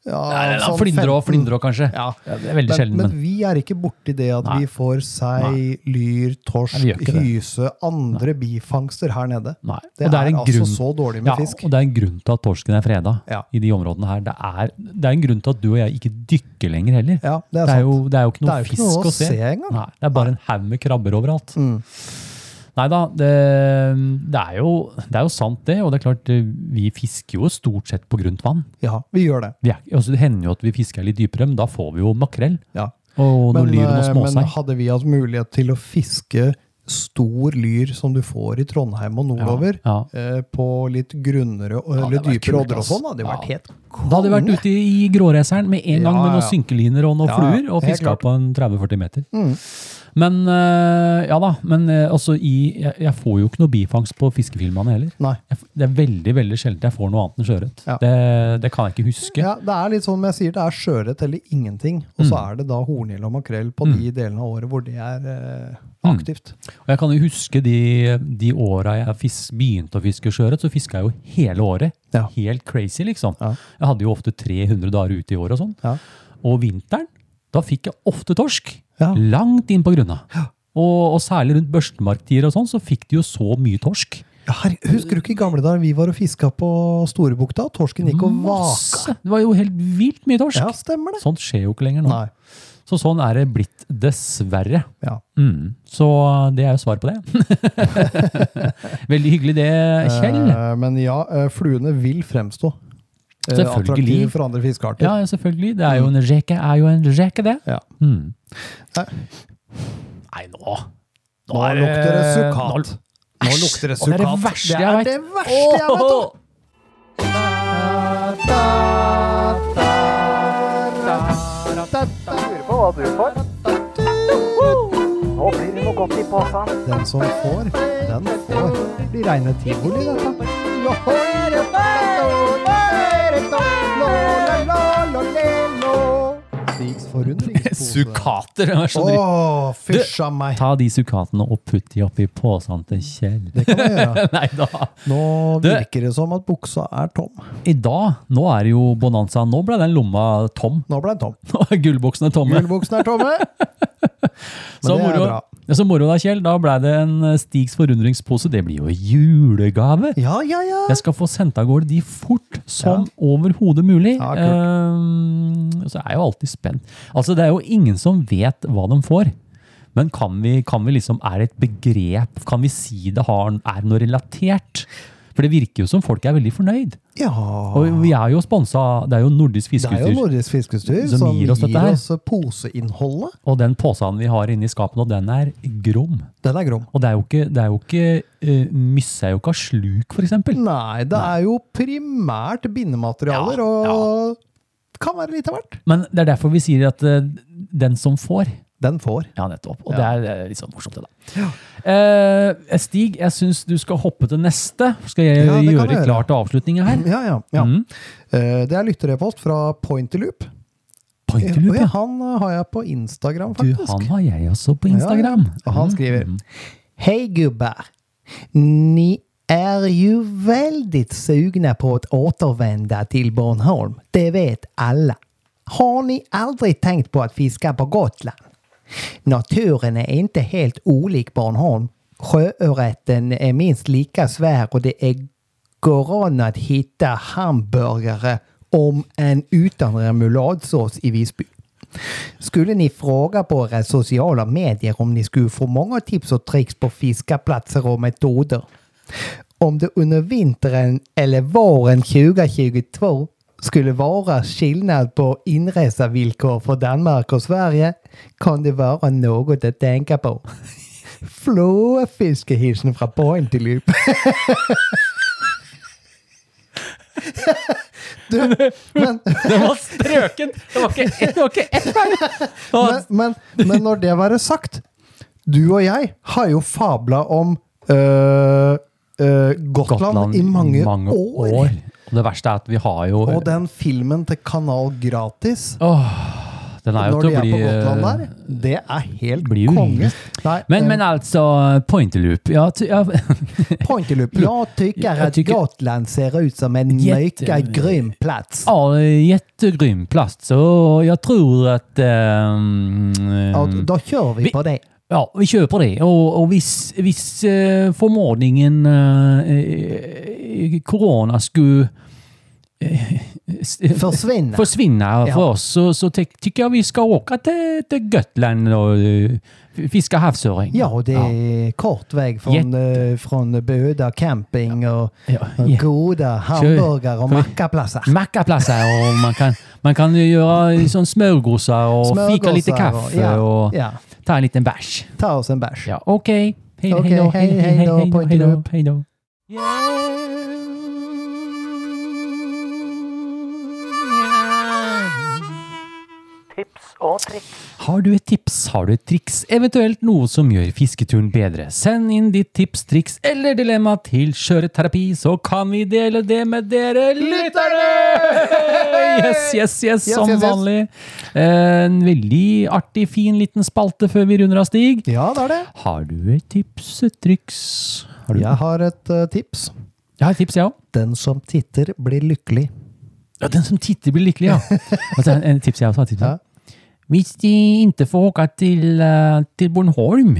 Speaker 2: Nei, nei, nei,
Speaker 6: sånn
Speaker 2: Flindre og
Speaker 6: 15.
Speaker 2: flindre og kanskje.
Speaker 6: Ja.
Speaker 2: det er veldig
Speaker 6: Men,
Speaker 2: sjelden,
Speaker 6: men
Speaker 2: men
Speaker 6: vi er ikke borti det at vi får sei, lyr, torsk,
Speaker 2: Nei, vi gjør ikke det.
Speaker 6: hyse, andre bifangster her nede.
Speaker 2: Nei. Og
Speaker 6: Det, er, altså så dårlig med
Speaker 2: ja,
Speaker 6: fisk.
Speaker 2: Og det er en grunn til at torsken er freda
Speaker 6: Ja.
Speaker 2: i de områdene her. Det er, det er en grunn til at du og jeg ikke dykker lenger heller.
Speaker 6: Ja, det er sant.
Speaker 2: jo, det er jo ikke noe
Speaker 6: Det er jo ikke
Speaker 2: fisk
Speaker 6: noe
Speaker 2: å se.
Speaker 6: engang. Mm.
Speaker 2: Nei, det er bare en haug med krabber overalt. Nei da, det, det, er jo, det er jo sant det. Og det er klart, eh, vi fisker jo stort sett på grunt vann.
Speaker 6: Ja, vi gjør det.
Speaker 2: Vi er, altså, det hender jo at vi fisker litt dypere, men da får vi jo makrell.
Speaker 6: Ja.
Speaker 2: Og noe
Speaker 6: Men,
Speaker 2: lyr og noe
Speaker 6: eh,
Speaker 2: småsei.
Speaker 6: men hadde vi hatt mulighet til å fiske stor lyr som du får i Trondheim og nordover,
Speaker 2: Ja,
Speaker 6: eh, på litt grunnere og eller
Speaker 2: det hadde vært
Speaker 6: dypere
Speaker 2: kult,
Speaker 6: odder og
Speaker 2: ass.
Speaker 6: sånn, hadde det vært
Speaker 2: Ja.
Speaker 6: helt
Speaker 2: Da hadde vi vært ute i gråreseren med en gang
Speaker 6: Ja,
Speaker 2: med noen
Speaker 6: ja, ja.
Speaker 2: synkeliner og noen
Speaker 6: Ja, ja,
Speaker 2: fluer, og
Speaker 6: helt
Speaker 2: fiska
Speaker 6: klart. Mm.
Speaker 2: på en 30-40 meter. Men øh, ja da, men øh, altså i jeg, jeg får jo ikke noe bifangst på fiskefilmene heller.
Speaker 6: Nei.
Speaker 2: Jeg, f- det er veldig veldig sjeldent jeg får noe annet enn sjøørret.
Speaker 6: Ja.
Speaker 2: Det, det kan jeg ikke huske.
Speaker 6: Ja, det er litt sånn som jeg sier, det er sjøørret eller ingenting. Og så er det da hornhild og makrell på de delene av året hvor det er eh, aktivt.
Speaker 2: Og jeg kan jo huske de, de åra jeg fis, begynte å fiske sjøørret, så fiska jeg jo hele året.
Speaker 6: Ja.
Speaker 2: Helt crazy, liksom.
Speaker 6: Ja.
Speaker 2: Jeg hadde jo ofte 300 dager ute i året og sånn.
Speaker 6: Ja.
Speaker 2: Og vinteren, da fikk jeg ofte torsk.
Speaker 6: Ja.
Speaker 2: Langt inn på grunna. Og, og særlig rundt børstemarktider og sånn, så fikk de jo så mye torsk.
Speaker 6: Ja, her, husker du ikke i gamle dager vi var og fiska på Storebukta? og Torsken gikk og vaka.
Speaker 2: Masse! Det var jo helt vilt mye torsk.
Speaker 6: Ja, stemmer det.
Speaker 2: Sånt skjer jo ikke lenger nå.
Speaker 6: Nei.
Speaker 2: Så sånn er det blitt, dessverre.
Speaker 6: Ja.
Speaker 2: Mm. Så det er jo svar på det. Veldig hyggelig det, Kjell.
Speaker 6: Eh, men ja, eh, fluene vil fremstå. eh,
Speaker 2: Selvfølgelig.
Speaker 6: Attraktive for andre fiskearter.
Speaker 2: Ja, ja, selvfølgelig. Det er jo en reke, er jo en reke, det.
Speaker 6: Ja.
Speaker 2: Mm.
Speaker 6: Nei.
Speaker 2: Nei, nå
Speaker 6: Nå lukter det sukkat. Nå
Speaker 2: Æsj,
Speaker 6: lukter det
Speaker 2: det er det
Speaker 6: sukkat.
Speaker 2: verste jeg vet.
Speaker 6: Det er det verste jeg vet om.
Speaker 2: Åh!
Speaker 5: Lurer på hva du får. Nå blir det noe godt i posen.
Speaker 6: Den som får, den får. Det blir reine tivoli, dette. Stigs forundringspose.
Speaker 2: Sukkater! det er så
Speaker 6: Å,
Speaker 2: dritt.
Speaker 6: fysj a meg.
Speaker 2: Ta de sukkatene og putt de oppi posen til Kjell.
Speaker 6: Det kan vi gjøre.
Speaker 2: Nei da.
Speaker 6: Nå
Speaker 2: Du-
Speaker 6: virker det som at buksa er tom.
Speaker 2: I dag, nå er det jo bonanza. Nå ble den lomma tom.
Speaker 6: Nå ble den tom.
Speaker 2: Nå er gullboksene tomme.
Speaker 6: Gullbuksene er tomme.
Speaker 2: Så
Speaker 6: det er
Speaker 2: moro,
Speaker 6: bra.
Speaker 2: Ja, så moro da, Kjell. Da ble det en eh, Stigs forundringspose. Det blir jo julegave.
Speaker 6: Ja, ja, ja.
Speaker 2: Jeg skal få sendt av gårde de fort som overhodet mulig.
Speaker 6: Ja, kult.
Speaker 2: Ehm, så er jeg jo alltid spent. Altså, det er jo ingen som vet hva de får. Men kan vi, kan vi liksom, er det et begrep? Kan vi si det har, er noe relatert? For det virker jo som folk er veldig fornøyd.
Speaker 6: Ja
Speaker 2: Og vi er jo sponsa, det er jo Nordisk
Speaker 6: Det er jo
Speaker 2: Fiskeutstyr.
Speaker 6: Norges fiskestyr
Speaker 2: Som
Speaker 6: som
Speaker 2: gir
Speaker 6: gir
Speaker 2: oss
Speaker 6: oss,
Speaker 2: dette her.
Speaker 6: poseinnholdet.
Speaker 2: Og den posen vi har inni skapet nå, den er grom.
Speaker 6: Den er grom.
Speaker 2: Og det er jo ikke, det er jo ikke eh, Mysse er jo ikke av sluk, for eksempel.
Speaker 6: Nei, det er jo primært bindematerialer,
Speaker 2: Ja,
Speaker 6: og kan være litt av hvert.
Speaker 2: Men det er derfor vi sier at eh, den som får
Speaker 6: Den får.
Speaker 2: Ja, nettopp. Og det er eh, litt sånn morsomt, det, da. Eh, Stig, jeg syns du skal hoppe til neste. Skal jeg
Speaker 6: Ja, det kan
Speaker 2: gjøre
Speaker 6: jeg gjøre.
Speaker 2: klar til avslutninga her?
Speaker 6: Ja, ja. ja.
Speaker 2: Mm.
Speaker 6: Eh, Det er lytterepost fra Pointerloop.
Speaker 2: Pointerloop, ja.
Speaker 6: Han eh, har jeg på Instagram,
Speaker 2: Du,
Speaker 6: faktisk.
Speaker 2: han har jeg også på Instagram. Mhm.
Speaker 6: Ja, ja. Og han skriver Hei, gubber. Ni er jo veldig sugne på å återvende til Bornholm. Det vet alle. Har ni aldri tenkt på å fiske på Gotland? Naturen er ikke helt ulik Bornholm. Sjøørreten er minst like svær, og det er går an å finne hamburgere om en uten remouladesås i Visby. Skulle ni fråga på era sociala medier om ni skulle få många tips och tricks på fiskeplatser och metoder? Om det under vintern eller våren 2022 skulle vara skillnad på inresevillkor för Danmark och Sverige kan det vara något att tänka på. Flåfiskehilsen från Pointilup. du, men,
Speaker 2: Den var strøken! Det var ikke ett, det var ikke ett feil! Og-
Speaker 6: men, men, men når det være sagt, du og jeg har jo fabla om øh, øh, Gotland, i mange, år.
Speaker 2: Og det verste er at vi har jo
Speaker 6: Og den filmen til Kanal Gratis
Speaker 2: Den er jo
Speaker 6: når
Speaker 2: til å
Speaker 6: de er
Speaker 2: bli
Speaker 6: på Gotland
Speaker 2: eh,
Speaker 6: der, det er helt
Speaker 2: blir jo
Speaker 6: konge.
Speaker 2: ringet.
Speaker 6: Nei,
Speaker 2: men,
Speaker 6: eh,
Speaker 2: men altså, pointerloop ja, ty- ja,
Speaker 6: Pointyloop. Jag tycker
Speaker 2: Jag
Speaker 6: att
Speaker 2: tycker-
Speaker 6: Gotland ser ut som en
Speaker 2: Jätte-
Speaker 6: mycket grym plats.
Speaker 2: ja, Jättegrym plast, så jeg tror at eh,
Speaker 6: Och då kör vi
Speaker 2: Vi-
Speaker 6: på det.
Speaker 2: Ja, vi kjøper det. Og, og hvis, hvis eh, formodningen eh, eh, korona skulle eh, s-
Speaker 6: Försvinna.
Speaker 2: forsvinne
Speaker 6: Ja.
Speaker 2: for oss, så, så tykker jeg vi skal åke til, til Gotland og eh, fiske havsøring.
Speaker 6: Ja, det är kort väg från, eh, från Böda camping och
Speaker 2: Ja,
Speaker 6: och
Speaker 2: ja.
Speaker 6: goda hamburgare och mackaplatser.
Speaker 2: Mackaplasser, og man kan, man kan jo gjøre sånn smørgåser og fika litt
Speaker 6: Smørgåser og-
Speaker 2: kaffe
Speaker 6: ja,
Speaker 2: og
Speaker 6: ja.
Speaker 2: ta en liten bæsj.
Speaker 6: Ta oss en bæsj.
Speaker 2: Ja, ok. Hei,
Speaker 6: Ok,
Speaker 2: hei,
Speaker 6: hei, hei da, pointer
Speaker 2: hei,
Speaker 6: opp.
Speaker 2: hei, hei, hei.
Speaker 3: Tips og triks.
Speaker 2: Har du et tips, har du et triks, eventuelt noe som gjør fisketuren bedre? Send inn ditt tips, triks eller dilemma til Skjøreterapi, så kan vi dele det med dere lyttere! Yes, yes, yes,
Speaker 6: Yes,
Speaker 2: som
Speaker 6: yes, yes.
Speaker 2: vanlig. En veldig artig, fin liten spalte før vi runder av, Stig.
Speaker 6: Ja, det er det.
Speaker 2: Har du et tips, et triks? Har du?
Speaker 6: Jeg har et eh, tips.
Speaker 2: Jeg har et tips, jeg ja. òg.
Speaker 6: Den som titter, blir lykkelig.
Speaker 2: Ja, den som titter blir lykkelig, ja. Altså, en, en tips jeg også har tips. om.
Speaker 6: Ja.
Speaker 2: Hvis de ikke får åka til, eh, til Bornholm,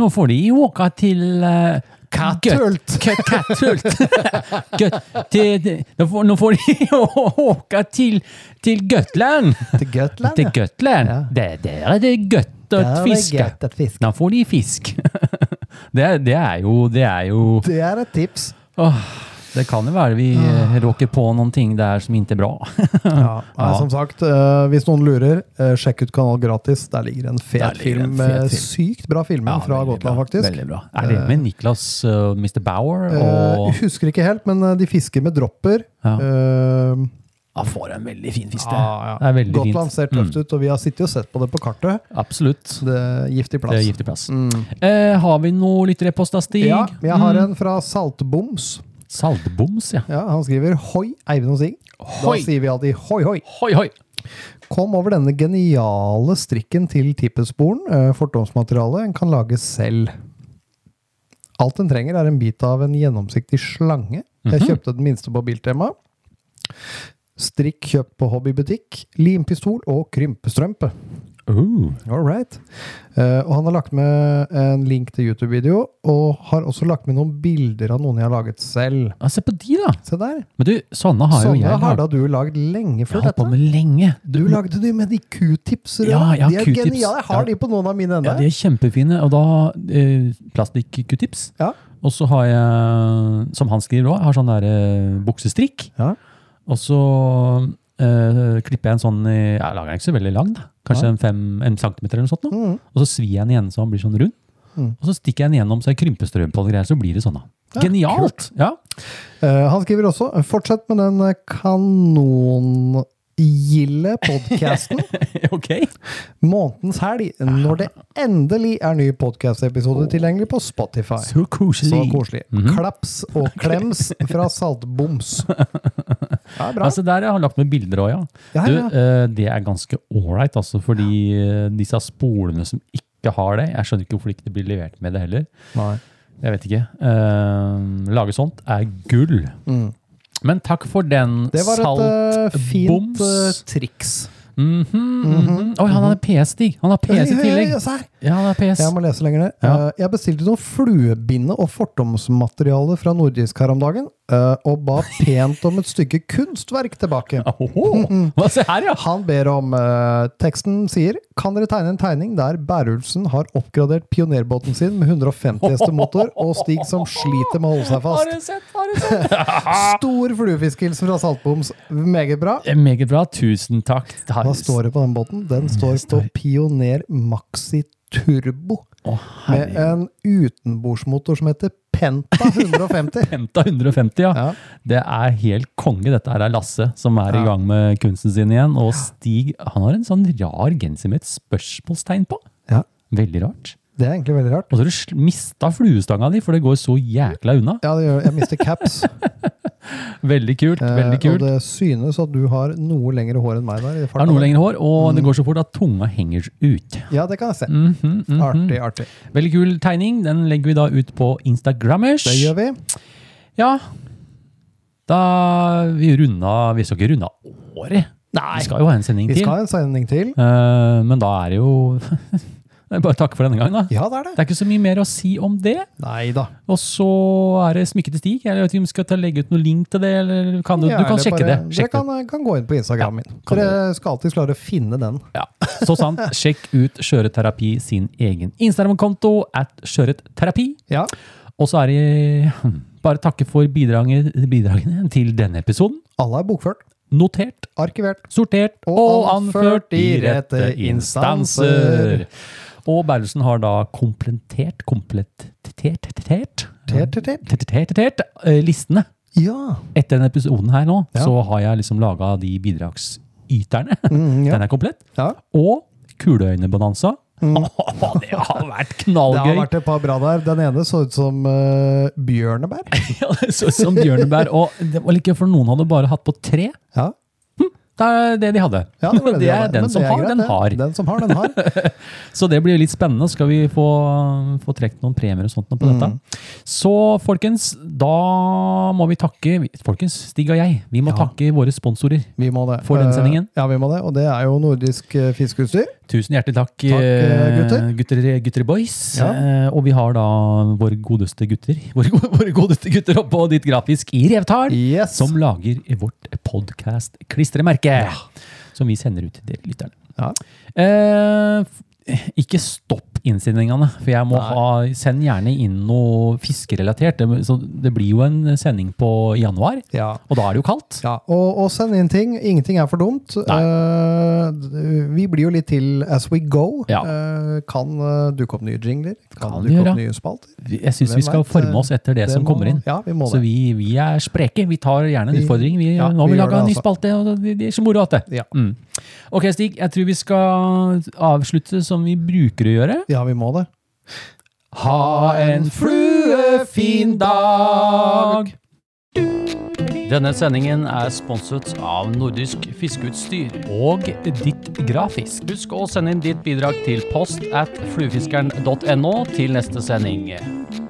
Speaker 2: nå får de åka til eh,
Speaker 6: Katthult.
Speaker 2: Gøt- Kat- Katthult. Gøt- til- til- nå får- Nå får de å- åka til, til Gøtland.
Speaker 6: Til Gotland,
Speaker 2: Til Gøtland.
Speaker 6: Ja.
Speaker 2: Der, der er det godt å
Speaker 6: Der er det
Speaker 2: fiske.
Speaker 6: godt at fiske.
Speaker 2: Da får de fisk. Det, er- det er jo Det er jo
Speaker 6: Det er et tips.
Speaker 2: Åh, det kan jo være vi eh, råker på noen ting der som ikke er bra.
Speaker 6: Ja. Nei, som sagt, eh, hvis noen lurer, eh, sjekk ut Kanal Gratis. Der ligger en
Speaker 2: Der
Speaker 6: fet
Speaker 2: ligger en
Speaker 6: film.
Speaker 2: fet
Speaker 6: eh,
Speaker 2: film.
Speaker 6: Sykt bra filmer fra
Speaker 2: veldig
Speaker 6: Gotland,
Speaker 2: bra,
Speaker 6: faktisk.
Speaker 2: Veldig bra. Er det med Niklas uh, Mr. Bauer og
Speaker 6: Eh, husker ikke helt, men eh, de fisker med dropper.
Speaker 2: Ja.
Speaker 6: Eh,
Speaker 2: Han får en veldig fin fisk, det.
Speaker 6: ja,
Speaker 2: Det
Speaker 6: ja.
Speaker 2: er veldig
Speaker 6: Gotland
Speaker 2: fint.
Speaker 6: ser tøft ut, og vi har sittet og sett på det på kartet.
Speaker 2: Absolutt.
Speaker 6: Det er
Speaker 2: Det
Speaker 6: giftig
Speaker 2: er
Speaker 6: plass.
Speaker 2: giftig plass. Eh, har vi noe lytterepost av Stig?
Speaker 6: Mm. Ja, jeg har
Speaker 2: Mm.
Speaker 6: en fra Saltboms.
Speaker 2: Saltboms, ja.
Speaker 6: Ja, han skriver 'Hoi, Eivind og Sig'. Da
Speaker 2: Hoi.
Speaker 6: sier vi alltid 'hoi, hoi'.
Speaker 2: Hoi, hoi!
Speaker 6: Kom over denne geniale strikken til tippesporen. eh, Fortomsmaterialet en kan lage selv. Alt en trenger, er en bit av en gjennomsiktig slange. Jeg
Speaker 2: Mhm.
Speaker 6: kjøpte den minste på Biltema. Strikk kjøpt på hobbybutikk. Limpistol og krympestrømpe.
Speaker 2: Oh.
Speaker 6: All right. Eh, og han har lagt med en link til YouTube-video, og har også lagt med noen bilder av noen jeg har laget selv.
Speaker 2: Ja, se på de, da!
Speaker 6: Se der.
Speaker 2: Men du, sånne har jo
Speaker 6: Sånne
Speaker 2: jeg lagd.
Speaker 6: har da du lagd lenge
Speaker 2: Jeg
Speaker 6: før
Speaker 2: har holdt på
Speaker 6: dette.
Speaker 2: med lenge.
Speaker 6: Du lagde de med de q-tips.
Speaker 2: Ja, jeg har
Speaker 6: de er
Speaker 2: Q-tips.
Speaker 6: geniale. Jeg har
Speaker 2: Ja.
Speaker 6: de på noen av mine
Speaker 2: Ja,
Speaker 6: ennå.
Speaker 2: de er kjempefine. Og da eh, plastikk-q-tips.
Speaker 6: Ja.
Speaker 2: Og så har jeg, som han skriver òg, har sånn der eh, buksestrikk.
Speaker 6: Ja.
Speaker 2: Og så eh, klipper jeg en sånn i Jeg lager den ikke så veldig lang, da. Kanskje en, fem, en centimeter eller noe sånt. nå.
Speaker 6: Mm.
Speaker 2: Og så svir jeg den igjen så han blir sånn rund.
Speaker 6: Mm.
Speaker 2: Og så stikker jeg den gjennom så jeg krymper strøm på den greia, så blir det sånn. da.
Speaker 6: Ja,
Speaker 2: Genialt! Ja.
Speaker 6: Eh, han skriver også Fortsett med den eh, kanongilde podkasten.
Speaker 2: ok.
Speaker 6: Månedens helg, når det endelig er ny podkastepisode tilgjengelig på Spotify.
Speaker 2: Så koselig.
Speaker 6: Så koselig.
Speaker 2: Mhm.
Speaker 6: Klaps og klems fra Saltboms. Ja, bra.
Speaker 2: Altså Der har jeg lagt med bilder òg, ja.
Speaker 6: Ja,
Speaker 2: Du,
Speaker 6: ja.
Speaker 2: eh, det er ganske ålreit, altså, fordi eh, disse spolene som ikke har det Jeg skjønner ikke hvorfor det ikke blir levert med det heller.
Speaker 6: Nei.
Speaker 2: Jeg vet ikke. Eh, lage sånt er gull.
Speaker 6: Mm.
Speaker 2: Men takk for den,
Speaker 6: Det var et eh, fint eh,
Speaker 2: Saltboms.
Speaker 6: triks.
Speaker 2: Mhm, mhm. Oi, han har PS, Stig! Han har PS i
Speaker 6: Oi, oi, oi,
Speaker 2: tillegg.
Speaker 6: se her.
Speaker 2: Ja, han har PS.
Speaker 6: Jeg må lese lenger ned.
Speaker 2: Ja.
Speaker 6: Eh, Jeg bestilte noen fluebinde og fortomsmateriale fra nordisk her om dagen, eh, og ba pent om et stykke kunstverk tilbake.
Speaker 2: Oho. Hva, se her, ja!
Speaker 6: Han ber om eh, Teksten sier Kan dere tegne en tegning der Bærulsen har oppgradert pionerbåten sin med 150 hestemotor og Stig som sliter med å holde seg
Speaker 2: Har
Speaker 6: fast?
Speaker 2: du sett? Har du sett? Ah!
Speaker 6: Stor fluefiskehilsen fra Saltboms. Meget bra.
Speaker 2: Eh, Meget bra. Tusen takk. Har-
Speaker 6: Hva står det på den båten? Den står på Pioner Maxi Turbo.
Speaker 2: Å,
Speaker 6: Med
Speaker 2: herregud.
Speaker 6: en utenbordsmotor som heter Penta 150.
Speaker 2: Henta 150, ja.
Speaker 6: Ja.
Speaker 2: Det er helt konge. Dette her er Lasse, som er i gang med kunsten sin igjen. Og Stig han har en sånn rar genser med et spørsmålstegn på.
Speaker 6: Ja.
Speaker 2: Veldig rart.
Speaker 6: Det er egentlig veldig rart.
Speaker 2: Og så har du sl- mista fluestanga di, for det går så jækla unna.
Speaker 6: Ja, det gjør, jeg mister caps.
Speaker 2: Veldig kult.
Speaker 6: Eh,
Speaker 2: veldig
Speaker 6: Og
Speaker 2: kult.
Speaker 6: det synes at du har noe lengre hår enn meg der. i
Speaker 2: Har
Speaker 6: farta.
Speaker 2: noe lengre hår, og
Speaker 6: Mm.
Speaker 2: det går så fort at tunga henger ut.
Speaker 6: Ja, det kan jeg se.
Speaker 2: Mhm, mhm.
Speaker 6: Artig, artig.
Speaker 2: Veldig kul tegning. Den legger vi da ut på Instagrammers.
Speaker 6: Det gjør vi.
Speaker 2: Ja. Da vi runda Vi skal ikke runde av året. Nei. Vi skal jo ha en sending
Speaker 6: Vi
Speaker 2: til.
Speaker 6: skal ha en sending til.
Speaker 2: Eh, men da er det jo Det er Bare takk for denne gang, da.
Speaker 6: Ja, det er det.
Speaker 2: Det er ikke så mye mer å si om det.
Speaker 6: Nei da.
Speaker 2: Og så er det smykket til Stig. Jeg vet ikke om vi skal ta, legge ut noe link til det. eller kan Du, du kan
Speaker 6: Eller
Speaker 2: sjekke
Speaker 6: bare-
Speaker 2: det.
Speaker 6: Dere
Speaker 2: Sjekk
Speaker 6: kan,
Speaker 2: det.
Speaker 6: kan gå inn på Instagram min.
Speaker 2: kan
Speaker 6: Dere skal alltid klare å finne den.
Speaker 2: Ja. Så sant. Sjekk ut Skjøreterapi sin egen Instagram-konto at skjøretterapi.
Speaker 6: Ja.
Speaker 2: Og så er det hm, bare takke for bidraget- bidragene til denne episoden.
Speaker 6: Alle er bokført,
Speaker 2: Notert,
Speaker 6: arkivert.
Speaker 2: sortert
Speaker 6: Og
Speaker 2: og
Speaker 6: anført
Speaker 2: anført i
Speaker 6: i
Speaker 2: rette
Speaker 6: rette
Speaker 2: instanser. Og Berlesen har da komplettert komplettert tert,
Speaker 6: Ter, ter, ter.
Speaker 2: tert, tert, tert, eh, listene.
Speaker 6: Ja.
Speaker 2: Etter denne episoden her nå,
Speaker 6: Ja.
Speaker 2: så har jeg liksom laga de bidragsyterne.
Speaker 6: Mm, ja.
Speaker 2: Den er komplett.
Speaker 6: ja.
Speaker 2: Og Kuleøynebonanza. det har vært
Speaker 6: Mm. Det har
Speaker 2: knallgøy!
Speaker 6: vært et par bra der. Den ene så ut som eh, bjørnebær.
Speaker 2: Ja, det så ut som bjørnebær. Og det var like, for noen hadde bare hatt på tre.
Speaker 6: Ja.
Speaker 2: Det er det de hadde.
Speaker 6: Ja, var
Speaker 2: det
Speaker 6: de
Speaker 2: er
Speaker 6: hadde. Men
Speaker 2: den som
Speaker 6: det er
Speaker 2: har,
Speaker 6: greit,
Speaker 2: den
Speaker 6: det.
Speaker 2: har.
Speaker 6: Den som har, den har.
Speaker 2: Så det blir litt spennende. Skal vi få, få trukket noen premier og sånt nå på
Speaker 6: Mm.
Speaker 2: dette? Så folkens, da må vi takke Folkens, Stig og jeg, vi må takke våre sponsorer.
Speaker 6: Vi må det.
Speaker 2: For den
Speaker 6: Eh,
Speaker 2: sendingen.
Speaker 6: Ja, vi må det. Og det er jo nordisk eh, fiskeutstyr.
Speaker 2: Tusen hjertelig takk,
Speaker 6: eh, gutter.
Speaker 2: eh, gutter. gutter boys.
Speaker 6: Ja.
Speaker 2: Eh, og vi har da våre godeste gutter våre, go- våre godeste gutter oppå ditt grafisk i Revtal,
Speaker 6: Yes.
Speaker 2: som lager vårt podkast-klistremerke. Som vi sender ut til dere lytterne.
Speaker 6: Ja.
Speaker 2: Eh, f- ikke stopp innsendingene, for jeg må ha Send gjerne inn noe fiskerelatert. Det, så det blir jo en sending på i januar,
Speaker 6: Ja.
Speaker 2: og da er det jo kaldt.
Speaker 6: Ja, og, og send inn ting. Ingenting er for dumt. Eh, d- vi blir jo litt til as we go.
Speaker 2: Ja.
Speaker 6: Eh, kan eh, dukke opp nye jingler. Kan,
Speaker 2: Kan
Speaker 6: dukke
Speaker 2: gjøre.
Speaker 6: opp nye spalter.
Speaker 2: Vi- Jeg syns vi
Speaker 6: Hvem
Speaker 2: skal
Speaker 6: vet,
Speaker 2: forme
Speaker 6: eh,
Speaker 2: oss etter det, som
Speaker 6: må-
Speaker 2: kommer inn.
Speaker 6: Ja, vi må
Speaker 2: Så
Speaker 6: det.
Speaker 2: vi, vi er spreke. Vi tar gjerne en
Speaker 6: Vi-
Speaker 2: utfordring. Vi,
Speaker 6: ja,
Speaker 2: nå har
Speaker 6: vi
Speaker 2: vi
Speaker 6: gjør
Speaker 2: laga en ny
Speaker 6: det, altså.
Speaker 2: spalte, og det, det er så moro at det.
Speaker 6: Ja.
Speaker 2: Mm. Ok, Stig. Jeg tror vi skal avslutte som vi bruker å gjøre.
Speaker 6: ja, vi må det.
Speaker 2: Ha en fluefin dag! Denne sendingen er sponset av Nordisk Fiskeutstyr og Ditt Grafisk. Husk å sende inn ditt bidrag til post at fluefiskeren.no til neste sending.